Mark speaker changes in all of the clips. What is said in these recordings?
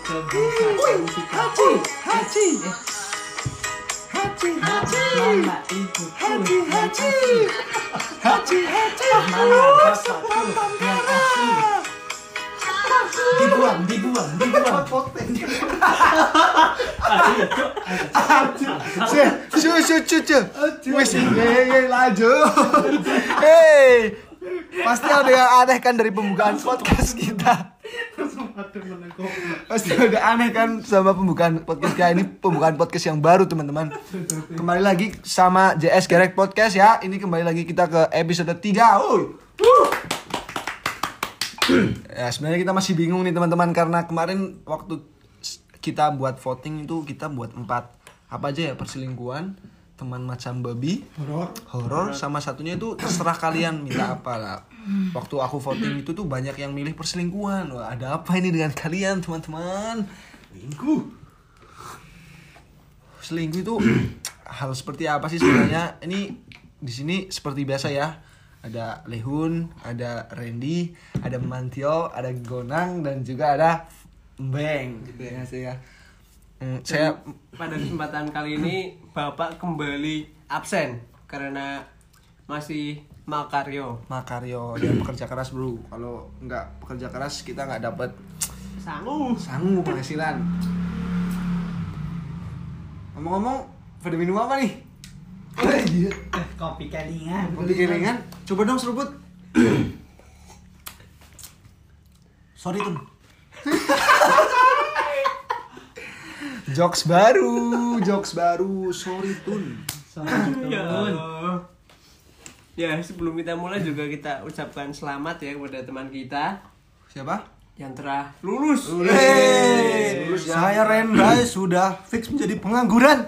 Speaker 1: kebijakan kita.
Speaker 2: haji, haji,
Speaker 1: Mama ibu
Speaker 2: haji, haji, haji, haji,
Speaker 1: Mama
Speaker 2: Haji,
Speaker 1: bapak yang asli.
Speaker 2: dibuang, dibuang, dibuang.
Speaker 3: Cuy, cuy, cuy, cuy, cuy. Wis, ye, ye, lanjut. Hey, pasti ada yang aneh kan dari pembukaan podcast kita. Pasti ada aneh kan sama pembukaan podcast kita ini pembukaan podcast yang baru teman-teman. Kembali lagi sama JS Gerek Podcast ya. Ini kembali lagi kita ke episode 3. Uy. Ya, sebenarnya kita masih bingung nih teman-teman karena kemarin waktu s- kita buat voting itu kita buat empat apa aja ya perselingkuhan, teman macam babi,
Speaker 2: Horor.
Speaker 3: horor sama satunya itu terserah kalian minta apa lah. Waktu aku voting itu tuh banyak yang milih perselingkuhan. Wah, ada apa ini dengan kalian teman-teman?
Speaker 2: Minggu.
Speaker 3: Selingkuh itu hal seperti apa sih sebenarnya? Ini di sini seperti biasa ya. Ada Lehun, ada Randy, ada Mantio, ada Gonang dan juga ada Beng gitu ya saya. Hmm, saya
Speaker 4: pada kesempatan kali ini bapak kembali absen karena masih makaryo
Speaker 3: Makario dia pekerja keras bro. Kalau nggak pekerja keras kita nggak dapat
Speaker 4: sangu
Speaker 3: sanggup penghasilan. Ngomong-ngomong, pada minum apa nih? Iya.
Speaker 1: Kopi kelingan.
Speaker 3: Kopi kelingan. Coba dong seruput.
Speaker 2: Sorry tuh.
Speaker 3: Jokes baru, jokes baru. Sorry tun.
Speaker 4: ya Allah. ya sebelum kita mulai juga kita ucapkan selamat ya kepada teman kita
Speaker 3: Siapa?
Speaker 4: yang telah lulus,
Speaker 3: Hey,
Speaker 4: Lulus ya.
Speaker 3: saya Rendra sudah fix menjadi pengangguran.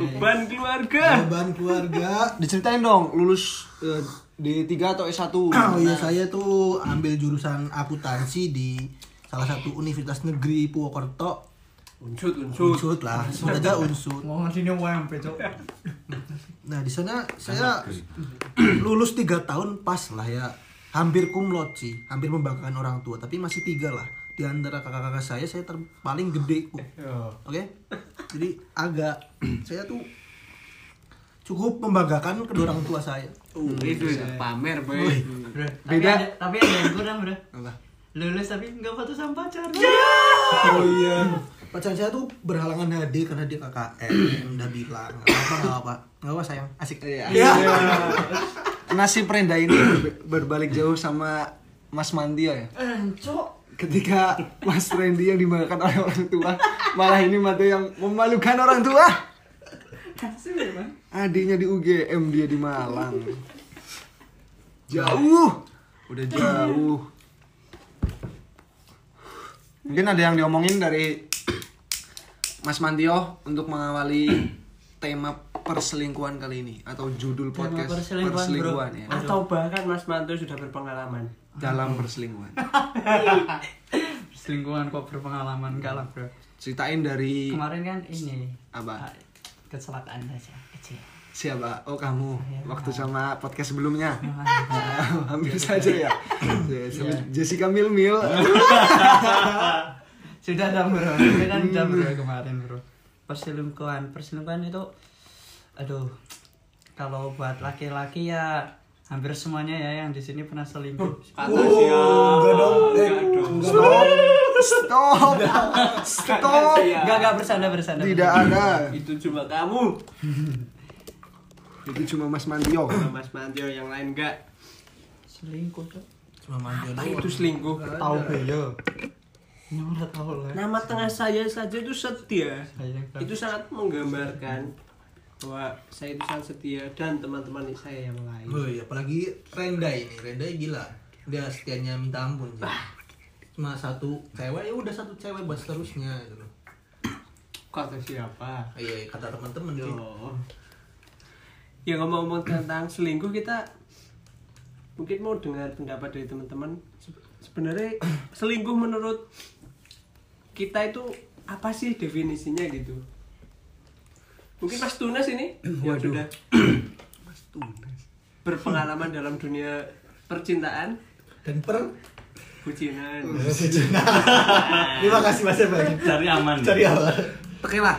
Speaker 4: beban keluarga
Speaker 2: Beban keluarga.
Speaker 3: Diceritain dong, lulus eh, D3 atau Nah. S1?
Speaker 2: Oh iya saya tuh ambil jurusan akuntansi di salah satu universitas negeri Purwokerto.
Speaker 4: uncut uncut
Speaker 2: Unsut lah, sebut aja unsut.
Speaker 1: Mau ngasih nih UMP, Cok.
Speaker 2: Nah di sana saya lulus tiga tahun pas lah ya, hampir kumlot sih, hampir membanggakan orang tua, tapi masih tiga lah. Di antara kakak-kakak saya saya ter- paling gede kok. Oke, jadi agak saya tuh cukup membanggakan kedua orang tua saya.
Speaker 4: Uh, itu itu pamer boy
Speaker 1: Bro, tapi
Speaker 3: Beda.
Speaker 1: ada, tapi ada yang kurang, Bro.
Speaker 3: Apa?
Speaker 1: Lulus tapi nggak foto sama pacar.
Speaker 2: Oh iya. Pacar saya tuh berhalangan hadir karena dia KKN udah bilang nggak apa nggak apa nggak apa sayang asik.
Speaker 3: Iya. Nasib Renda ini berbe- berbalik jauh sama Mas Mantio ya.
Speaker 1: Cok.
Speaker 3: Ketika Mas Randy yang dimakan oleh orang tua, malah ini Mantio yang memalukan orang tua.
Speaker 1: Kasih, Bro.
Speaker 3: Adiknya di UGM dia di Malang. Jauh. Udah jauh. Mungkin ada yang diomongin dari Mas Mantio untuk mengawali tema perselingkuhan kali ini atau judul
Speaker 1: Tema
Speaker 3: podcast
Speaker 1: perselingkuhan, bro.
Speaker 3: ya.
Speaker 4: atau bahkan Mas Manto sudah berpengalaman
Speaker 3: Dalam perselingkuhan.
Speaker 1: Selingkuhan kok berpengalaman kalah, Bro.
Speaker 3: Ceritain dari
Speaker 1: Kemarin kan ini
Speaker 3: apa?
Speaker 1: kecelakaan saja kecil.
Speaker 3: Siapa? Oh, kamu. Waktu sama podcast sebelumnya.
Speaker 1: Iya.
Speaker 3: Hampir saja ya. Ya, sama Jessica Milmil.
Speaker 1: sudah dong bro Tapi kan udah bro
Speaker 2: Hmm.
Speaker 1: kemarin bro perselingkuhan perselingkuhan itu aduh kalau buat laki-laki ya hampir semuanya ya yang di sini pernah selingkuh
Speaker 4: kata siapa ya. enggak dong Eh. enggak dong
Speaker 3: Stop. Stop.
Speaker 4: Iya.
Speaker 1: Enggak, enggak bersanda bersanda
Speaker 3: Tidak ada.
Speaker 4: itu cuma kamu
Speaker 3: Itu cuma Mas Mantio.
Speaker 4: Mas Mantio yang lain enggak
Speaker 1: selingkuh tuh
Speaker 2: Cuma mandi
Speaker 4: apa itu selingkuh
Speaker 1: tahu beliau ini udah tahu lah
Speaker 4: Nama tengah saya saja itu setia.
Speaker 1: Sayang kan.
Speaker 4: Itu sangat menggambarkan bahwa saya itu sangat setia dan teman-teman saya yang lain.
Speaker 2: Oh iya, apalagi Renda ini, Renda gila. Dia setianya minta ampun sih. Cuma satu cewek ya udah satu cewek buat seterusnya gitu loh.
Speaker 4: Kata siapa?
Speaker 2: Iya, kata teman-teman sih.
Speaker 3: Oh.
Speaker 4: Yo. Ya ngomong-ngomong tentang selingkuh kita mungkin mau dengar pendapat dari teman-teman. Se- Sebenarnya selingkuh menurut kita itu apa sih definisinya gitu? Mungkin Mas Tunas ini yang sudah berpengalaman dalam dunia percintaan
Speaker 2: Dan per
Speaker 4: bucinan
Speaker 2: Terima kasih Mas Evan.
Speaker 5: Cari aman.
Speaker 2: Cari awal.
Speaker 3: Tekilah.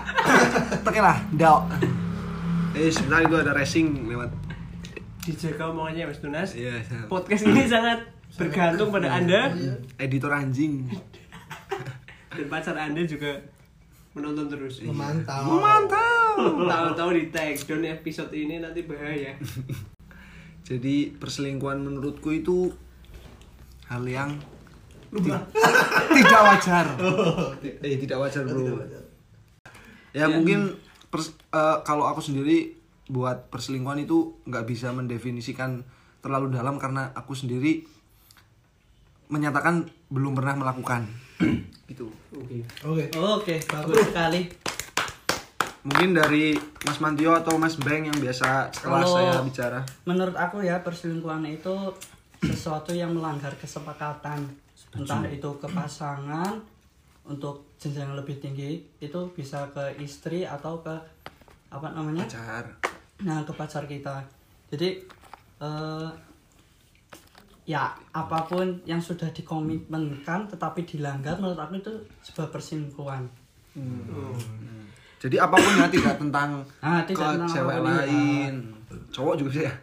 Speaker 3: Tekilah. Dao. Eh, sebentar gue ada racing lewat.
Speaker 4: dijaga omongannya mas Tunas
Speaker 3: Iya, siap.
Speaker 4: podcast ini sangat bergantung Iya. pada anda
Speaker 3: editor anjing.
Speaker 4: dan pacar anda juga menonton terus
Speaker 2: Memantau.
Speaker 3: Mantap.
Speaker 4: tahu-tahu di tag down episode ini nanti bahaya
Speaker 3: Jadi perselingkuhan menurutku itu hal yang ti- tidak wajar. Eh, tidak wajar, Bro. Ya, mungkin pers- eh, kalau aku sendiri buat perselingkuhan itu nggak bisa mendefinisikan terlalu dalam karena aku sendiri menyatakan belum pernah melakukan gitu.
Speaker 4: oke
Speaker 2: Oke.
Speaker 1: Oke, bagus sekali.
Speaker 3: Mungkin dari Mas Mantio atau Mas Beng yang biasa setelah
Speaker 1: Kalau-
Speaker 3: saya bicara.
Speaker 1: Menurut aku ya perselingkuhan itu sesuatu yang melanggar kesepakatan entah itu ke pasangan untuk jenjang yang lebih tinggi itu bisa ke istri atau ke apa namanya
Speaker 3: Pacar.
Speaker 1: nah ke pacar kita jadi eh, ya apapun yang sudah dikomitmenkan tetapi dilanggar menurut aku itu sebuah perselingkuhan
Speaker 4: Oh.
Speaker 3: Jadi apapun ya tidak tentang
Speaker 1: Ah,
Speaker 3: ke
Speaker 1: tidak tentang
Speaker 3: cewek
Speaker 1: apapun,
Speaker 3: lain. Cowok juga bisa ya?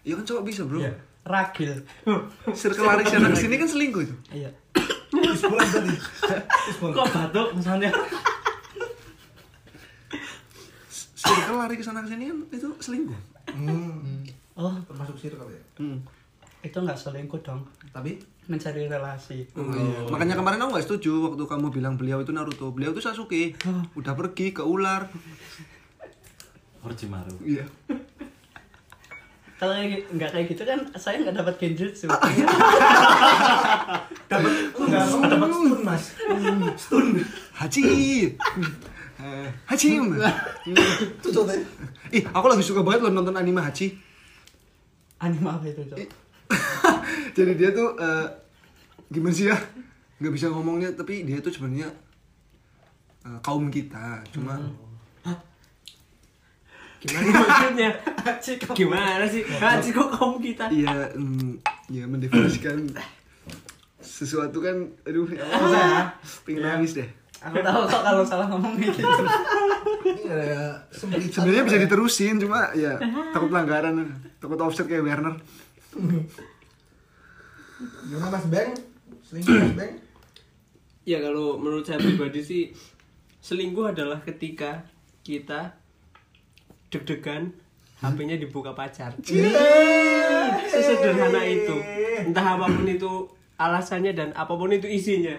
Speaker 3: Iya kan cowok bisa bro.
Speaker 1: ragil
Speaker 3: Circle lari sana ke sini kan selingkuh itu.
Speaker 1: iya
Speaker 2: Sebulan tadi.
Speaker 5: Kok batuk misalnya?
Speaker 3: Circle lari ke sana ke sini kan itu selingkuh.
Speaker 1: oh
Speaker 2: Hmm, Termasuk circle ya.
Speaker 1: Hmm. itu nggak selingkuh dong
Speaker 2: Tapi
Speaker 1: mencari relasi
Speaker 5: Hmm.
Speaker 3: Oh, iya.
Speaker 1: Oh.
Speaker 3: Makanya kemarin aku gak setuju waktu kamu bilang beliau itu Naruto. Beliau itu Sasuke. Udah pergi ke ular.
Speaker 5: Orochimaru.
Speaker 3: Iya.
Speaker 1: kalau kayak- nggak kayak gitu kan saya nggak dapat genjutsu
Speaker 2: dapat enggak dapat stun Mas.
Speaker 3: Hmm.
Speaker 2: Stun.
Speaker 3: Haji. Eh, Hachim.
Speaker 2: Itu contohnya.
Speaker 3: Ih, aku lagi suka banget loh nonton anime Hachi.
Speaker 1: anime apa itu Cok?
Speaker 3: jadi dia tuh eh, gimana sih ya nggak bisa ngomongnya tapi dia tuh sebenarnya eh, kaum kita cuma
Speaker 4: gimana maksudnya gimana sih Haji kok kaum kita
Speaker 3: iya mm, ya mendefinisikan sesuatu kan aduh ya Iya. Allah saya pengen nangis deh
Speaker 1: aku tahu kok kalau salah ngomong kayak gitu
Speaker 2: Ini ada sembilan.
Speaker 3: sebenarnya bisa diterusin cuma ya takut pelanggaran takut offset kayak Werner
Speaker 2: Gimana Mas Beng? Selingkuh Mas Beng?
Speaker 4: ya kalau menurut saya pribadi sih selingkuh adalah ketika kita deg-degan HP-nya dibuka pacar sesederhana itu entah apapun itu alasannya dan apapun itu isinya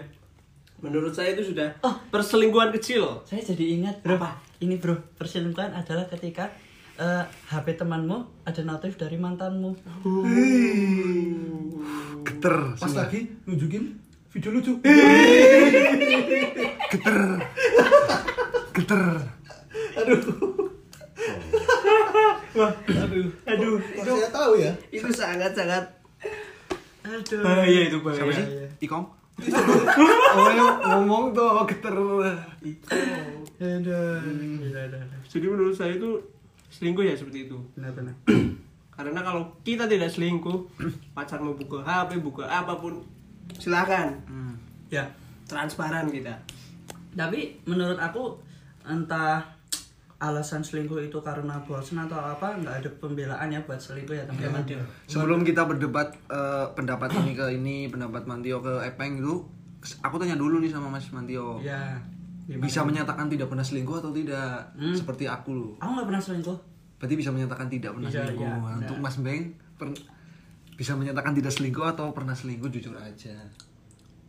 Speaker 4: menurut saya itu sudah perselingkuhan kecil
Speaker 1: saya jadi ingat bro
Speaker 4: Apa?
Speaker 1: ini bro perselingkuhan adalah ketika eh, HP temanmu ada notif dari mantanmu
Speaker 3: keter
Speaker 2: Pas lagi nunjukin video lucu.
Speaker 3: keter keter
Speaker 2: Aduh.
Speaker 4: Oh. aduh aduh
Speaker 2: Kok saya tahu ya.
Speaker 4: itu sangat sangat
Speaker 1: aduh
Speaker 4: bahaya Ah, iya, itu bahaya
Speaker 3: siapa sih ikom oh ya, ngomong tuh keter
Speaker 1: aduh Gila, aduh, aduh.
Speaker 4: jadi menurut saya itu selingkuh ya seperti itu
Speaker 1: benar benar
Speaker 4: Karena kalau kita tidak selingkuh, pacar mau buka HP, buka apapun, silakan.
Speaker 1: ya
Speaker 4: Transparan kita.
Speaker 1: tapi menurut aku entah alasan selingkuh itu karena bosan atau apa nggak ada pembelaan ya buat selingkuh ya teman-teman
Speaker 3: Sebelum kita berdebat eh, pendapat ini ke ini, pendapat Mantio ke Epeng itu, aku tanya dulu nih sama Mas Mantio.
Speaker 1: ya gimana? Hmm?
Speaker 3: Bisa menyatakan tidak pernah selingkuh atau tidak? Seperti aku loh.
Speaker 1: aku nggak pernah selingkuh
Speaker 3: Berarti bisa menyatakan tidak pernah
Speaker 1: Bisa,
Speaker 3: selingkuh. Nah,
Speaker 1: iya,
Speaker 3: Untuk Mas Beng per- bisa menyatakan tidak selingkuh atau pernah selingkuh jujur aja.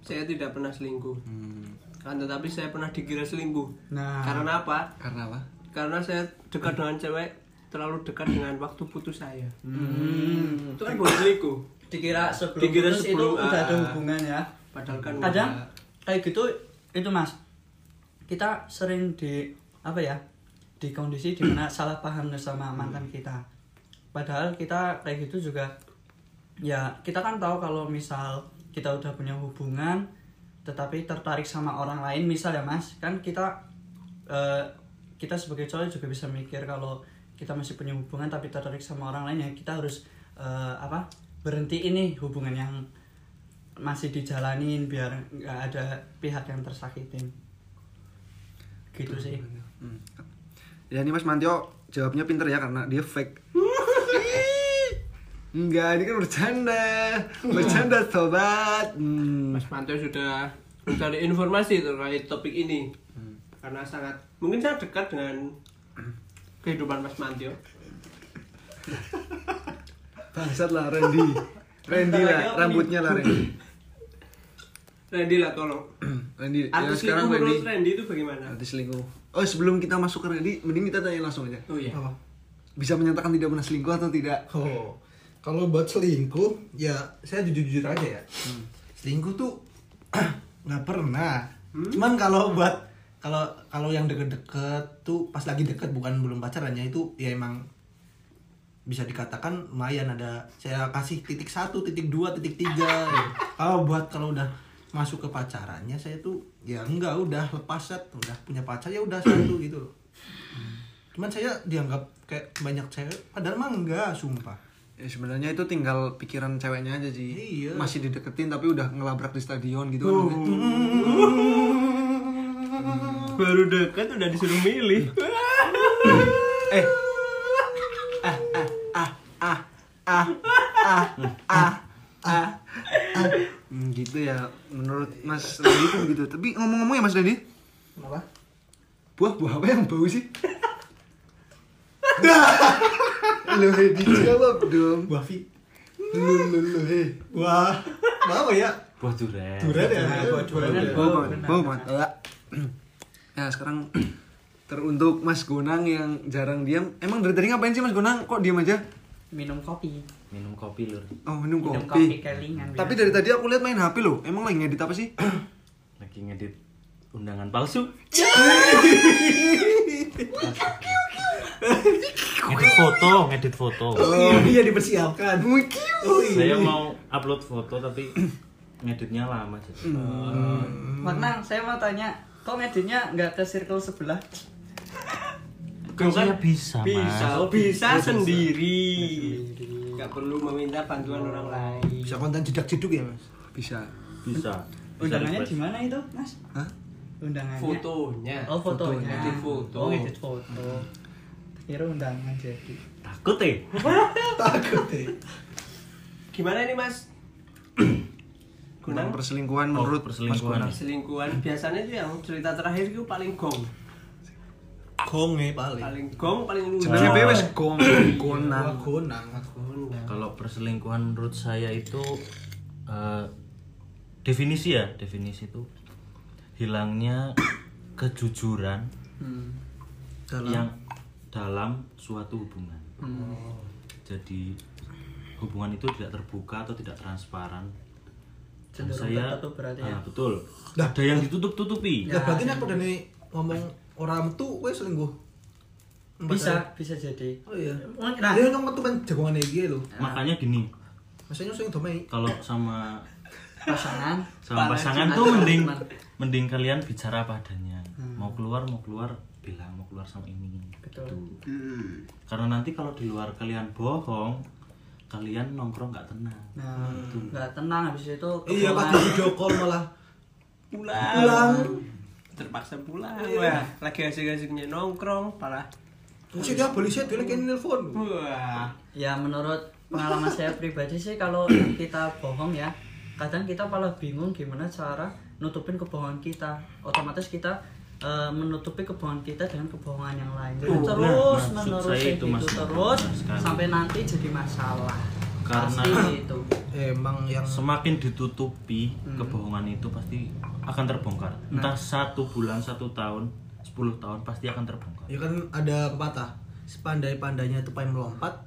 Speaker 4: Saya tidak pernah selingkuh.
Speaker 3: Hmm,
Speaker 4: Kan tetapi saya pernah dikira selingkuh.
Speaker 1: Nah.
Speaker 4: Karena apa?
Speaker 3: karena apa?
Speaker 4: Karena saya dekat dengan cewek, terlalu dekat dengan waktu putus saya. Itu kan bukan selingkuh.
Speaker 1: dikira sebelum
Speaker 4: Dikira
Speaker 1: putus
Speaker 4: sebelum,
Speaker 1: itu udah ada
Speaker 4: ah.
Speaker 1: hubungan ya
Speaker 4: Padahal kan
Speaker 1: kadang
Speaker 4: enggak.
Speaker 1: kayak gitu itu mas kita sering di apa ya di kondisi dimana salah paham sama mantan kita padahal kita kayak gitu juga ya kita kan tahu kalau misal kita udah punya hubungan tetapi tertarik sama orang lain misal ya mas kan kita eh, kita sebagai cowok juga bisa mikir kalau kita masih punya hubungan tapi tertarik sama orang lain ya kita harus eh, apa berhenti ini hubungan yang masih dijalanin biar nggak ada pihak yang tersakitin gitu sih
Speaker 3: Hmm. Ya ini Mas Mantio jawabnya pinter ya karena dia fake. Enggak, ini kan bercanda. Bercanda sobat. Hmm.
Speaker 4: Mas Panto sudah mencari informasi terkait topik ini karena sangat mungkin sangat dekat dengan kehidupan Mas Mantio.
Speaker 3: Bangsat lah Randy. Randy lah, rambutnya lah Randy.
Speaker 4: Randy lah tolong.
Speaker 3: Randy. Ya,
Speaker 4: Artis
Speaker 3: sekarang
Speaker 4: selingkuh menurut
Speaker 3: Randy.
Speaker 4: Randy itu bagaimana?
Speaker 3: Artis selingkuh. Oh, sebelum kita masuk ke Randy, mending kita tanya langsung aja.
Speaker 4: Oh iya.
Speaker 3: Bisa menyatakan tidak pernah selingkuh atau tidak?
Speaker 2: Oh, kalau buat selingkuh, ya saya jujur-jujur aja ya. Selingkuh tuh nggak pernah. Cuman kalau buat kalau kalau yang deket-deket tuh pas lagi deket bukan belum pacarannya itu ya emang bisa dikatakan lumayan ada saya kasih titik satu titik dua titik tiga ya. kalau buat kalau udah masuk ke pacarannya saya tuh ya enggak udah lepas set udah punya pacar ya udah satu gitu loh cuman saya dianggap kayak banyak cewek padahal mah enggak sumpah
Speaker 3: Ya sebenarnya itu tinggal pikiran ceweknya aja sih.
Speaker 2: Iya.
Speaker 3: Masih dideketin tapi udah ngelabrak di stadion gitu kan.
Speaker 4: Baru dekat udah disuruh milih.
Speaker 3: Eh. Ah ah ah ah ah ah ah ah. Hmm, gitu ya menurut Mas Randy itu begitu. Tapi ngomong-ngomong ya Mas Randy,
Speaker 2: kenapa
Speaker 3: buah-buah apa yang bau sih? Loh, dijawab dong.
Speaker 2: buah fi
Speaker 3: Loh, loh, loh, eh.
Speaker 2: wah mau ya
Speaker 5: Buah durian.
Speaker 2: durian ya buah
Speaker 1: durian.
Speaker 3: Bau banget, bau banget. Nah, sekarang teruntuk Mas Gonang yang jarang diam. Emang dari tadi ngapain sih Mas Gonang? Kok diam aja?
Speaker 1: minum kopi
Speaker 5: Minum kopi lur.
Speaker 3: Oh, minum
Speaker 1: minum
Speaker 3: kopi.
Speaker 1: kopi kelingan
Speaker 3: Tapi
Speaker 1: biasa.
Speaker 3: dari tadi aku lihat main HP loh. Emang lagi ngedit apa sih?
Speaker 5: Lagi ngedit undangan palsu. ngedit foto, ngedit foto.
Speaker 2: oh iya dipersiapkan
Speaker 5: Saya mau upload foto tapi ngeditnya lama jadi.
Speaker 1: Mas Nang, saya mau tanya kok ngeditnya nggak ke circle sebelah
Speaker 5: Kan saya bisa,
Speaker 4: Bisa, oh,
Speaker 5: Mas.
Speaker 4: bisa sendiri. Gak perlu meminta bantuan orang lain.
Speaker 2: bisa konten jedak jeduk ya mas
Speaker 3: Bisa.
Speaker 5: Bisa. Bisa
Speaker 1: undangannya
Speaker 5: request.
Speaker 1: di mana itu mas
Speaker 3: Hah?
Speaker 1: undangannya
Speaker 4: Fotonya.
Speaker 1: oh fotonya
Speaker 4: Ngedit foto.
Speaker 1: oh ngedit foto kira undangan jadi
Speaker 5: Takut eh.
Speaker 2: takut deh
Speaker 4: Gimana ini Mas?
Speaker 3: Tentang
Speaker 4: Gunang
Speaker 3: Oh, perselingkuhan menurut Mas
Speaker 5: perselingkuhan.
Speaker 3: Gonang.
Speaker 4: selingkuhan biasanya itu yang cerita terakhir itu paling gong
Speaker 2: konge paling
Speaker 4: paling gong paling lucu
Speaker 3: Sebenarnya gue wes gong Gonang.
Speaker 2: Wah, konang
Speaker 5: Kalau perselingkuhan menurut saya itu eh, definisi ya, definisi itu hilangnya kejujuran
Speaker 1: Hmm.
Speaker 5: yang dalam suatu hubungan. Jadi hubungan itu tidak terbuka atau tidak transparan. Dan
Speaker 1: Cenderung
Speaker 5: saya
Speaker 1: tertutup berarti ya? Iya.
Speaker 5: Ah, betul.
Speaker 2: Nah.
Speaker 5: Ada yang ditutup-tutupi.
Speaker 2: Lah Ya, berarti nek padane ngomong orang tuh kowe selingkuh.
Speaker 1: bisa bisa jadi
Speaker 2: Oh iya.
Speaker 1: Nah.
Speaker 2: Nah, dia ngomong tuh kan jagongane iki lho.
Speaker 5: Makanya gini,
Speaker 2: Maksudnya sing domai.
Speaker 5: kalau sama
Speaker 1: pasangan
Speaker 5: sama pasangan tuh mending mending kalian bicara padanya mau keluar mau keluar bilang mau keluar sama ini gitu karena nanti kalau di luar kalian bohong kalian nongkrong nggak tenang
Speaker 1: nah nggak tenang habis itu
Speaker 2: Iya, pas di video call malah
Speaker 4: pulang.
Speaker 2: Pulang. Iya.
Speaker 4: terpaksa pulang wah lagi asik-asiknya nongkrong parah
Speaker 2: mesti dia beli set dia kan nelpon.
Speaker 4: wah
Speaker 1: ya menurut pengalaman saya pribadi sih kalau kita bohong ya kadang kita malah bingung gimana cara nutupin kebohongan kita otomatis kita eh, menutupi kebohongan kita dengan kebohongan yang lain Jadi
Speaker 5: Oh, nah,
Speaker 1: terus
Speaker 5: maksud
Speaker 1: menerus
Speaker 5: saya
Speaker 1: kayak
Speaker 5: itu,
Speaker 1: gitu
Speaker 5: Mas.
Speaker 1: terus
Speaker 5: Benar sekali.
Speaker 1: sampai nanti jadi masalah
Speaker 5: Karena-
Speaker 1: pasti itu
Speaker 2: Emang yang
Speaker 5: semakin ditutupi kebohongan itu pasti akan terbongkar entah satu bulan satu tahun sepuluh tahun pasti akan terbongkar
Speaker 2: ya kan ada patah. Sepandai-pandainya tupai melompat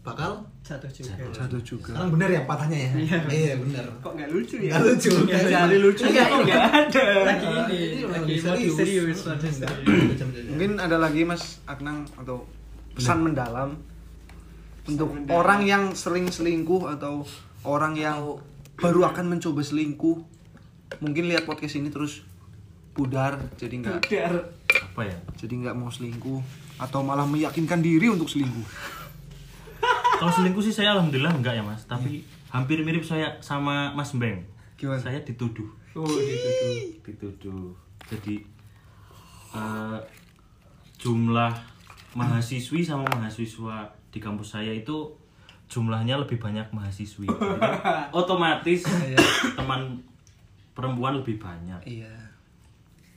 Speaker 2: bakal
Speaker 1: jatuh juga
Speaker 3: Jatuh juga.
Speaker 2: sekarang bener ya patahnya ya? Iya, bener.
Speaker 4: kok nggak lucu ya
Speaker 2: Nggak lucu. Iya.
Speaker 4: nggak sekali lucu ya nggak ada
Speaker 1: Eh, lagi ini lagi serius serius, lagi serius.
Speaker 3: Mungkin ada lagi Mas Aknang atau pesan mendalam untuk orang yang sering selingkuh atau orang yang baru akan mencoba selingkuh. Mungkin lihat podcast ini terus pudar jadi nggak
Speaker 4: Dar.
Speaker 5: apa ya
Speaker 3: jadi nggak mau selingkuh atau malah meyakinkan diri untuk selingkuh.
Speaker 5: kalau selingkuh sih saya alhamdulillah enggak ya mas tapi hampir mirip saya sama Mas Beng.
Speaker 3: Gimana?
Speaker 5: Saya dituduh,
Speaker 4: Oh, dituduh.
Speaker 5: dituduh. Jadi eh, jumlah mahasiswi sama mahasiswa di kampus saya itu jumlahnya lebih banyak mahasiswi. Jadi, otomatis teman perempuan lebih banyak.
Speaker 3: Iya.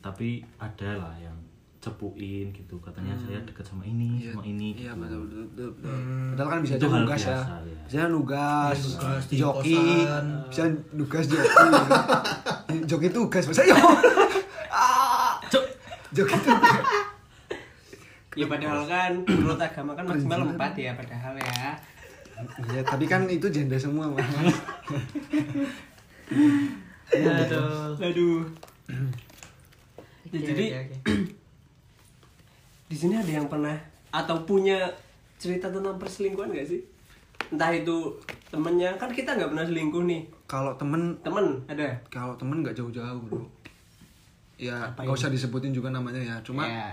Speaker 5: Tapi ada lah yang cepuin gitu katanya saya dekat sama ini sama ini
Speaker 3: Hmm. Iya
Speaker 5: gitu.
Speaker 3: betul betul betul. betul. Padahal kan bisa
Speaker 5: Itu
Speaker 3: aja
Speaker 5: hal
Speaker 3: nugas ya.
Speaker 5: biasa, ya.
Speaker 3: Bisa nugas,
Speaker 2: Hmm. Iya, nugas di
Speaker 3: joki,
Speaker 2: kosan.
Speaker 3: bisa nugas joki. joki tugas masa yo. Ah,
Speaker 5: Cuk.
Speaker 3: joki tugas.
Speaker 4: Ya padahal kan menurut agama kan maksimal empat ya padahal ya.
Speaker 3: Iya, tapi kan itu janda semua, Mas.
Speaker 2: Iya,
Speaker 1: Aduh.
Speaker 4: Nah, Aduh. Ya,
Speaker 1: Oke,
Speaker 4: jadi
Speaker 1: oke,
Speaker 4: di sini ada yang pernah atau punya cerita tentang perselingkuhan gak sih? Entah itu temennya kan kita nggak pernah selingkuh nih.
Speaker 3: Kalau temen
Speaker 4: Temen ada.
Speaker 3: kalau temen nggak jauh-jauh, Bro. Ya, nggak usah disebutin juga namanya ya. Cuma
Speaker 5: Iya.
Speaker 4: Ya.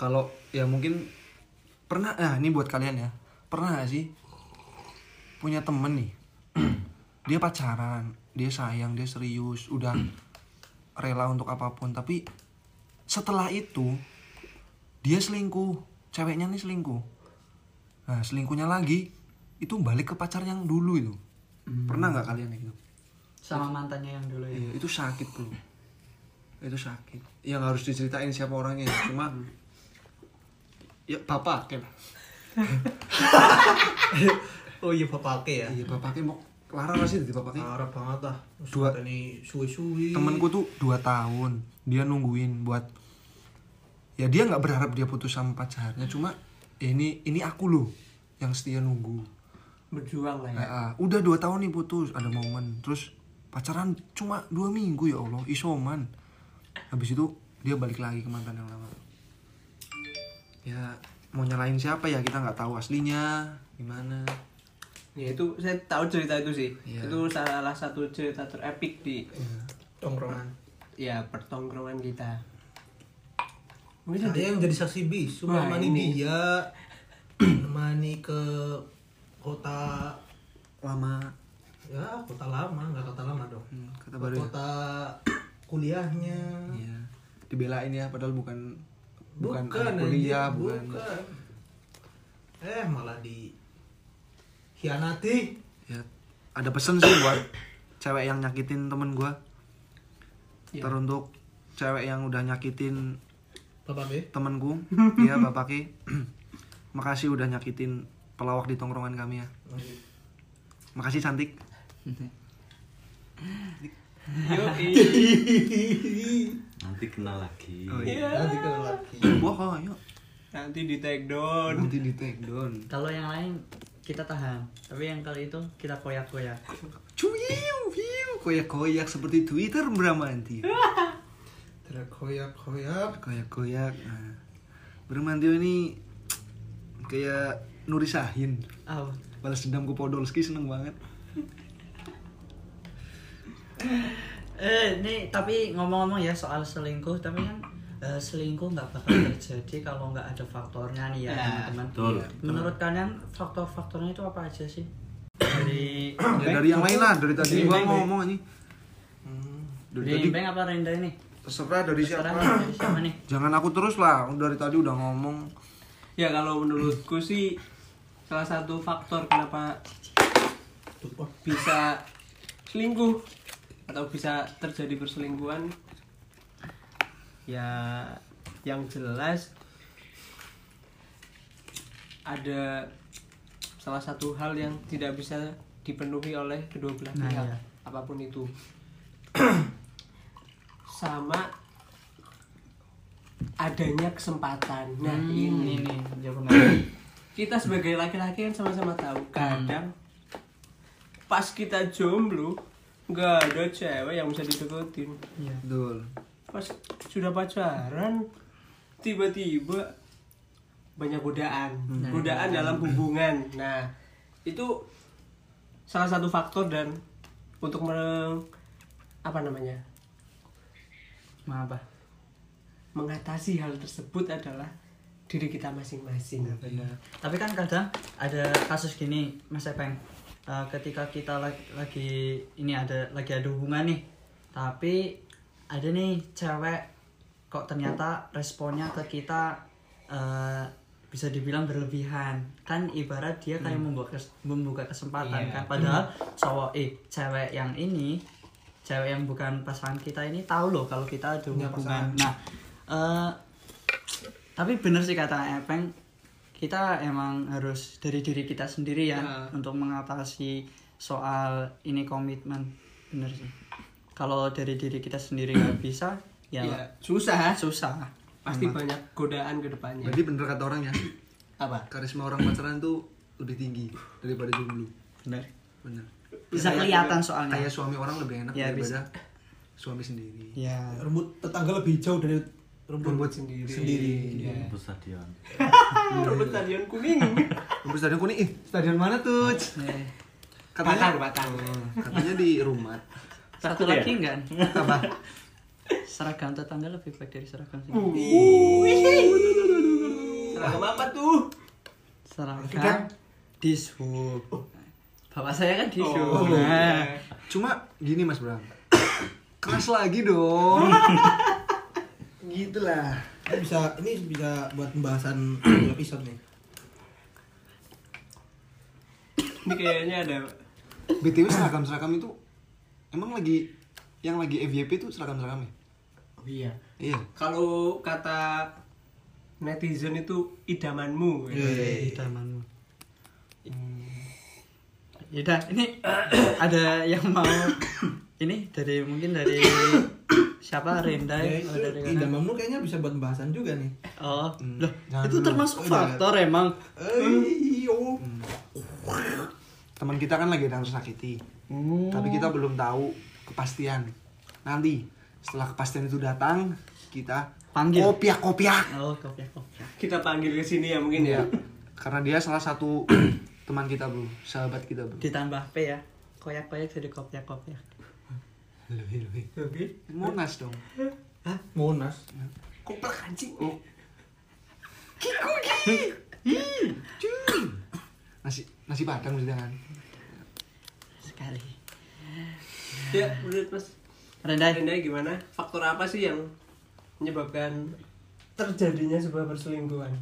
Speaker 3: kalau ya mungkin pernah ah ini buat kalian ya pernah gak sih punya temen nih dia pacaran dia sayang dia serius udah rela untuk apapun tapi setelah itu dia selingkuh ceweknya nih selingkuh nah selingkuhnya lagi itu balik ke pacar yang dulu itu pernah nggak kalian kayak gitu
Speaker 1: Sama mantannya yang dulu ya.
Speaker 3: Iya, itu sakit bro itu sakit yang harus diceritain siapa orangnya ya. cuma ya bapak kan
Speaker 2: Oh iya bapake ya.
Speaker 3: iya bapaknya mau Lara lah sih jadi bapaknya
Speaker 2: Arab banget lah.
Speaker 3: Dua-
Speaker 2: Dua ini suwi-suwi.
Speaker 3: temenku tuh 2 tahun dia nungguin buat ya dia nggak berharap dia putus sama pacarnya cuma ya ini ini aku loh yang setia nunggu
Speaker 4: Berjuang lah ya.
Speaker 3: Ah, ah. udah 2 tahun nih putus ada momen terus pacaran cuma dua minggu ya Allah isoman habis itu dia balik lagi ke mantan yang lama ya mau nyalain siapa ya kita nggak tahu aslinya gimana
Speaker 4: Ya itu saya tahu cerita itu sih.
Speaker 3: Iya.
Speaker 4: Itu salah satu cerita terepik di
Speaker 2: tongkrongan.
Speaker 4: ya pertongkrongan kita. Mungkin ada
Speaker 2: Saya yang jadi saksi bisu
Speaker 4: Wah,
Speaker 2: menemani
Speaker 4: ini.
Speaker 2: dia menemani ke kota
Speaker 3: lama
Speaker 2: ya kota lama nggak kota lama dong
Speaker 3: hmm, kata baru ya.
Speaker 2: kota kuliahnya
Speaker 3: Iya. Dibelain ya padahal bukan bukan,
Speaker 2: bukan
Speaker 3: anak
Speaker 2: anjing,
Speaker 3: kuliah, bukan.
Speaker 2: bukan. eh malah di hianati
Speaker 3: Ya, ada pesan sih buat cewek yang nyakitin temen gua.
Speaker 2: Iya.
Speaker 3: Teruntuk cewek yang udah nyakitin
Speaker 2: bapak be
Speaker 3: temenku, ya Bapak Ki. Makasih udah nyakitin pelawak di tongkrongan kami ya. Makasih cantik.
Speaker 4: Yoi.
Speaker 5: Nanti kenal lagi.
Speaker 3: Oh, iya.
Speaker 2: nanti kena lagi
Speaker 3: Wah, oh, iya. yuk.
Speaker 4: Nanti di take down.
Speaker 3: Nanti di take down.
Speaker 1: Kalau yang lain kita tahan, tapi yang kali itu kita koyak-koyak.
Speaker 3: Cuiu, hiu, koyak-koyak seperti Twitter Bramanti.
Speaker 2: terkoyak koyak
Speaker 3: Koyak-koyak. Nah, Bramantio ini kayak Nuri Sahin.
Speaker 1: Aw,
Speaker 3: Balas dendam ke Podolski seneng banget.
Speaker 1: eh nih tapi ngomong-ngomong ya soal selingkuh, tapi kan eh, selingkuh nggak bakal terjadi kalau nggak ada faktornya nih ya
Speaker 4: Nah,
Speaker 1: teman-teman.
Speaker 5: betul.
Speaker 1: Iya. Menurut kalian faktor-faktornya itu apa aja sih? Dari
Speaker 3: Ya, dari yang lain lah, dari tadi gua ngomong ini. Dari
Speaker 1: dari
Speaker 3: tadi
Speaker 1: Hmm. Beng apa Renda ini?
Speaker 3: terserah dari siapa.
Speaker 1: Terserah dari siapa nih?
Speaker 3: Jangan aku terus lah, dari tadi udah ngomong.
Speaker 4: Ya kalau menurutku sih salah satu faktor kenapa bisa selingkuh atau bisa terjadi perselingkuhan ya yang jelas ada salah satu hal yang tidak bisa dipenuhi oleh kedua belah
Speaker 1: Nah,
Speaker 4: pihak
Speaker 1: iya.
Speaker 4: apapun itu sama adanya kesempatan nah ini
Speaker 1: Hmm, ini nih jawabannya.
Speaker 4: kita sebagai laki-laki kan sama-sama tahu kadang pas kita jomblo nggak ada cewek yang bisa dideketin
Speaker 1: Iya.
Speaker 3: Betul.
Speaker 4: pas sudah pacaran tiba-tiba banyak godaan godaan dalam hubungan nah itu salah satu faktor dan untuk mereng apa namanya
Speaker 1: Maaf apa?
Speaker 4: mengatasi hal tersebut adalah diri kita masing-masing
Speaker 1: Tapi kan kadang ada kasus gini Mas Epeng eh, ketika kita lagi, lagi ini ada lagi ada hubungan nih tapi ada nih cewek kok ternyata responnya ke kita eh, bisa dibilang berlebihan kan ibarat dia kayak membuka kes- membuka kesempatan kan padahal cowok eh cewek yang ini cewek yang bukan pasangan kita ini tahu loh kalau kita ada hubungan nah eh, tapi bener sih kata Epeng kita emang harus dari diri kita sendiri ya
Speaker 4: Nah.
Speaker 1: untuk mengatasi soal ini komitmen bener sih kalau dari diri kita sendiri nggak bisa ya
Speaker 4: ya susah
Speaker 1: susah
Speaker 4: pasti banyak godaan ke depannya
Speaker 3: Berarti bener kata orangnya,
Speaker 4: apa
Speaker 3: karisma orang pacaran tuh lebih tinggi daripada jomblo.
Speaker 1: bener
Speaker 3: Bener.
Speaker 1: bisa
Speaker 4: Iya.
Speaker 1: kelihatan soalnya
Speaker 3: Kayak suami orang lebih enak
Speaker 1: Ya, Ah, nah. bisa.
Speaker 3: daripada suami sendiri.
Speaker 1: ya
Speaker 2: Rumput tetangga lebih jauh dari rumput
Speaker 3: Rumput sendiri. Sendiri. Iya.
Speaker 5: Rumput stadion.
Speaker 4: rumput Ah, stadion kuning
Speaker 3: Rumput stadion kuning, ih, stadion mana tuh?
Speaker 4: batang
Speaker 3: Katanya,
Speaker 4: batang
Speaker 3: katanya di rumah.
Speaker 1: satu
Speaker 4: Iya.
Speaker 1: lagi enggak apa seragam tetangga lebih baik dari seragam sendiri
Speaker 4: seragam apa tuh
Speaker 1: seragam dishub bapak saya kan dishub
Speaker 4: Nah.
Speaker 1: nah,
Speaker 3: Cuma gini Mas Bram. Keras lagi dong. Gitulah.
Speaker 2: Ini bisa ini bisa buat pembahasan satu episode nih
Speaker 4: ini kayaknya ada
Speaker 3: BTW seragam-seragam itu emang lagi yang lagi FYP itu seragam-seragamnya?
Speaker 4: oh, iya
Speaker 3: Iya.
Speaker 4: kalau kata netizen itu idamanmu
Speaker 1: di tamanmu Hmm. Yaudah, ini ada yang mau ini dari mungkin dari siapa Renda ya,
Speaker 2: ya, itu
Speaker 1: dari mana?
Speaker 2: tidak mampu kayaknya bisa buat pembahasan juga nih
Speaker 1: Oh, loh,
Speaker 3: Jangan
Speaker 1: itu
Speaker 3: dulu.
Speaker 1: termasuk
Speaker 3: Udah.
Speaker 1: faktor emang.
Speaker 2: Ayo.
Speaker 3: Teman kita kan lagi ada yang tersakiti. Tapi kita belum tahu kepastian. Nanti setelah kepastian itu datang, kita
Speaker 1: Panggil.
Speaker 3: kopiak-kopiak.
Speaker 1: Oh, kopi kopi.
Speaker 4: kita panggil ke sini ya mungkin
Speaker 3: Iya.
Speaker 4: ya
Speaker 3: Karena dia salah satu teman kita, Bro. Sahabat kita, Bro.
Speaker 1: Ditambah P ya. Koyak-koyak jadi kopi kopi.
Speaker 3: Monas dong.
Speaker 2: Hah? Monas.
Speaker 4: Koplak anjing.
Speaker 3: Nasi nasi padang maksudnya kan.
Speaker 1: Sekali.
Speaker 4: Ya, menurut Mas
Speaker 1: Renda.
Speaker 4: Rendai gimana? Faktor apa sih yang menyebabkan terjadinya sebuah perselingkuhan?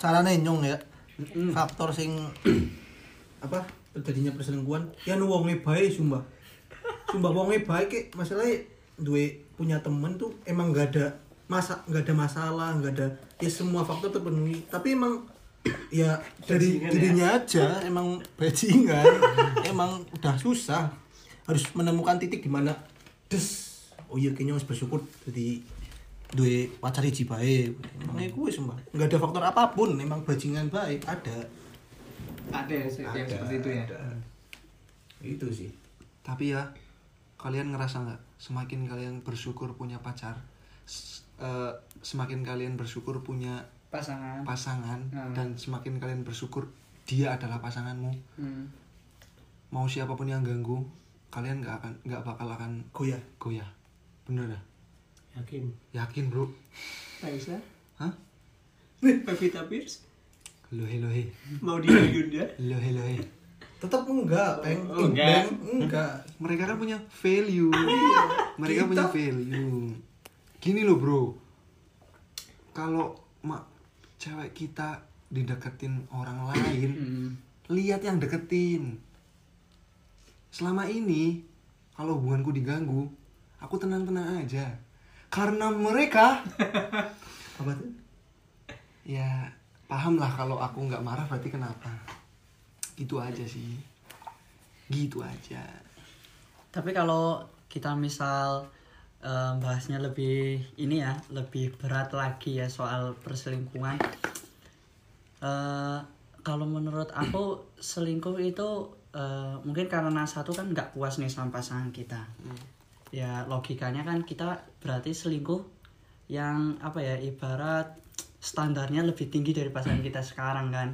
Speaker 2: Caranya nyong ya. Faktor sing apa? Terjadinya perselingkuhan. Ya nu wonge bae sumpah. Sumpah wonge bae ki masalahnya duwe punya temen tuh emang gak ada masa nggak ada masalah nggak ada ya semua faktor terpenuhi tapi emang ya dari
Speaker 4: Bajingan ya.
Speaker 2: dirinya aja emang bajingan emang udah susah harus menemukan titik di mana des oh iya kayaknya harus bersyukur jadi duwe pacar hiji bae emang iku wis mbak nggak ada faktor apapun emang bajingan baik ada
Speaker 4: Ada yang, yang seperti itu ya.
Speaker 2: ada. itu sih
Speaker 3: Tapi ya, kalian ngerasa nggak? Semakin kalian bersyukur punya pacar, s- eh, semakin kalian bersyukur punya
Speaker 1: Pasangan.
Speaker 3: pasangan,
Speaker 1: Hmm.
Speaker 3: dan semakin kalian bersyukur dia adalah pasanganmu.
Speaker 1: Hmm.
Speaker 3: Mau siapapun yang ganggu, kalian nggak akan nggak bakal akan
Speaker 2: goyah
Speaker 3: goyah. Bener dah.
Speaker 4: Yakin.
Speaker 3: Yakin bro?
Speaker 4: Raisa,
Speaker 3: Hah?
Speaker 4: Pevita Pierce,
Speaker 3: Lohe lohe,
Speaker 4: Maudy Ayunda.
Speaker 3: lohe lohe.
Speaker 2: tetap enggak peng
Speaker 4: Oh, enggak.
Speaker 2: Peng, enggak
Speaker 3: Mereka kan punya value.
Speaker 2: Gitu.
Speaker 3: Mereka punya value. Gini loh bro, kalau mak cewek kita dideketin orang lain, lihat yang deketin. Selama ini, kalau hubunganku diganggu, aku tenang-tenang aja. Karena mereka,
Speaker 2: apa tuh
Speaker 3: ya paham lah kalau aku nggak marah berarti kenapa. Gitu aja sih. Gitu aja.
Speaker 1: Tapi kalau kita misal eh, bahasnya lebih ini ya, lebih berat lagi ya soal perselingkuhan. Eh, kalau menurut aku selingkuh itu eh, mungkin karena satu kan nggak puas nih sama pasangan kita. Ya logikanya kan kita berarti selingkuh yang apa ya ibarat standarnya lebih tinggi dari pasangan kita sekarang kan.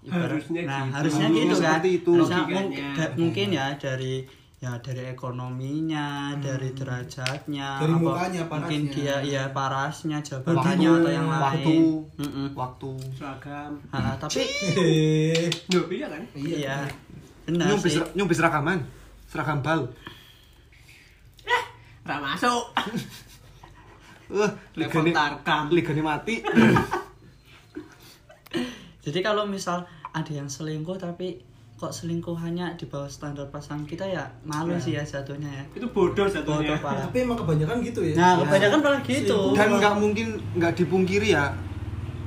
Speaker 1: Ibarat-
Speaker 4: Harusnya
Speaker 1: nah
Speaker 4: gitu.
Speaker 1: harusnya gitu
Speaker 3: Harusnya
Speaker 1: kan.
Speaker 3: seperti itu.
Speaker 1: Harusnya mung-
Speaker 4: Logikanya.
Speaker 1: da- mungkin ya dari ya dari ekonominya, dari derajatnya,
Speaker 2: Dari mukanya,
Speaker 1: mungkin
Speaker 2: parasnya.
Speaker 1: dia ya parasnya, jabatannya atau yang lain.
Speaker 3: waktu
Speaker 1: Mm-mm.
Speaker 3: waktu
Speaker 4: seragam
Speaker 1: Ah, tapi
Speaker 2: Hehehe.
Speaker 4: Duh, iya kan
Speaker 1: iya. Benar
Speaker 3: nyumpis
Speaker 1: sih.
Speaker 3: nyumpis rekaman seragam bau
Speaker 4: Ra masuk
Speaker 3: eh
Speaker 4: Telepon
Speaker 3: ligane-
Speaker 4: tarkam.
Speaker 3: ligane mati
Speaker 1: Jadi kalau misal ada yang selingkuh tapi kok selingkuhannya di bawah standar pasangan kita ya malu sih ya jatuhnya ya.
Speaker 4: itu bodoh
Speaker 1: Bodoh
Speaker 4: satunya
Speaker 1: parah.
Speaker 2: Tapi emang kebanyakan gitu ya.
Speaker 1: Nah, kebanyakan malah gitu.
Speaker 3: dan nggak mungkin nggak dipungkiri ya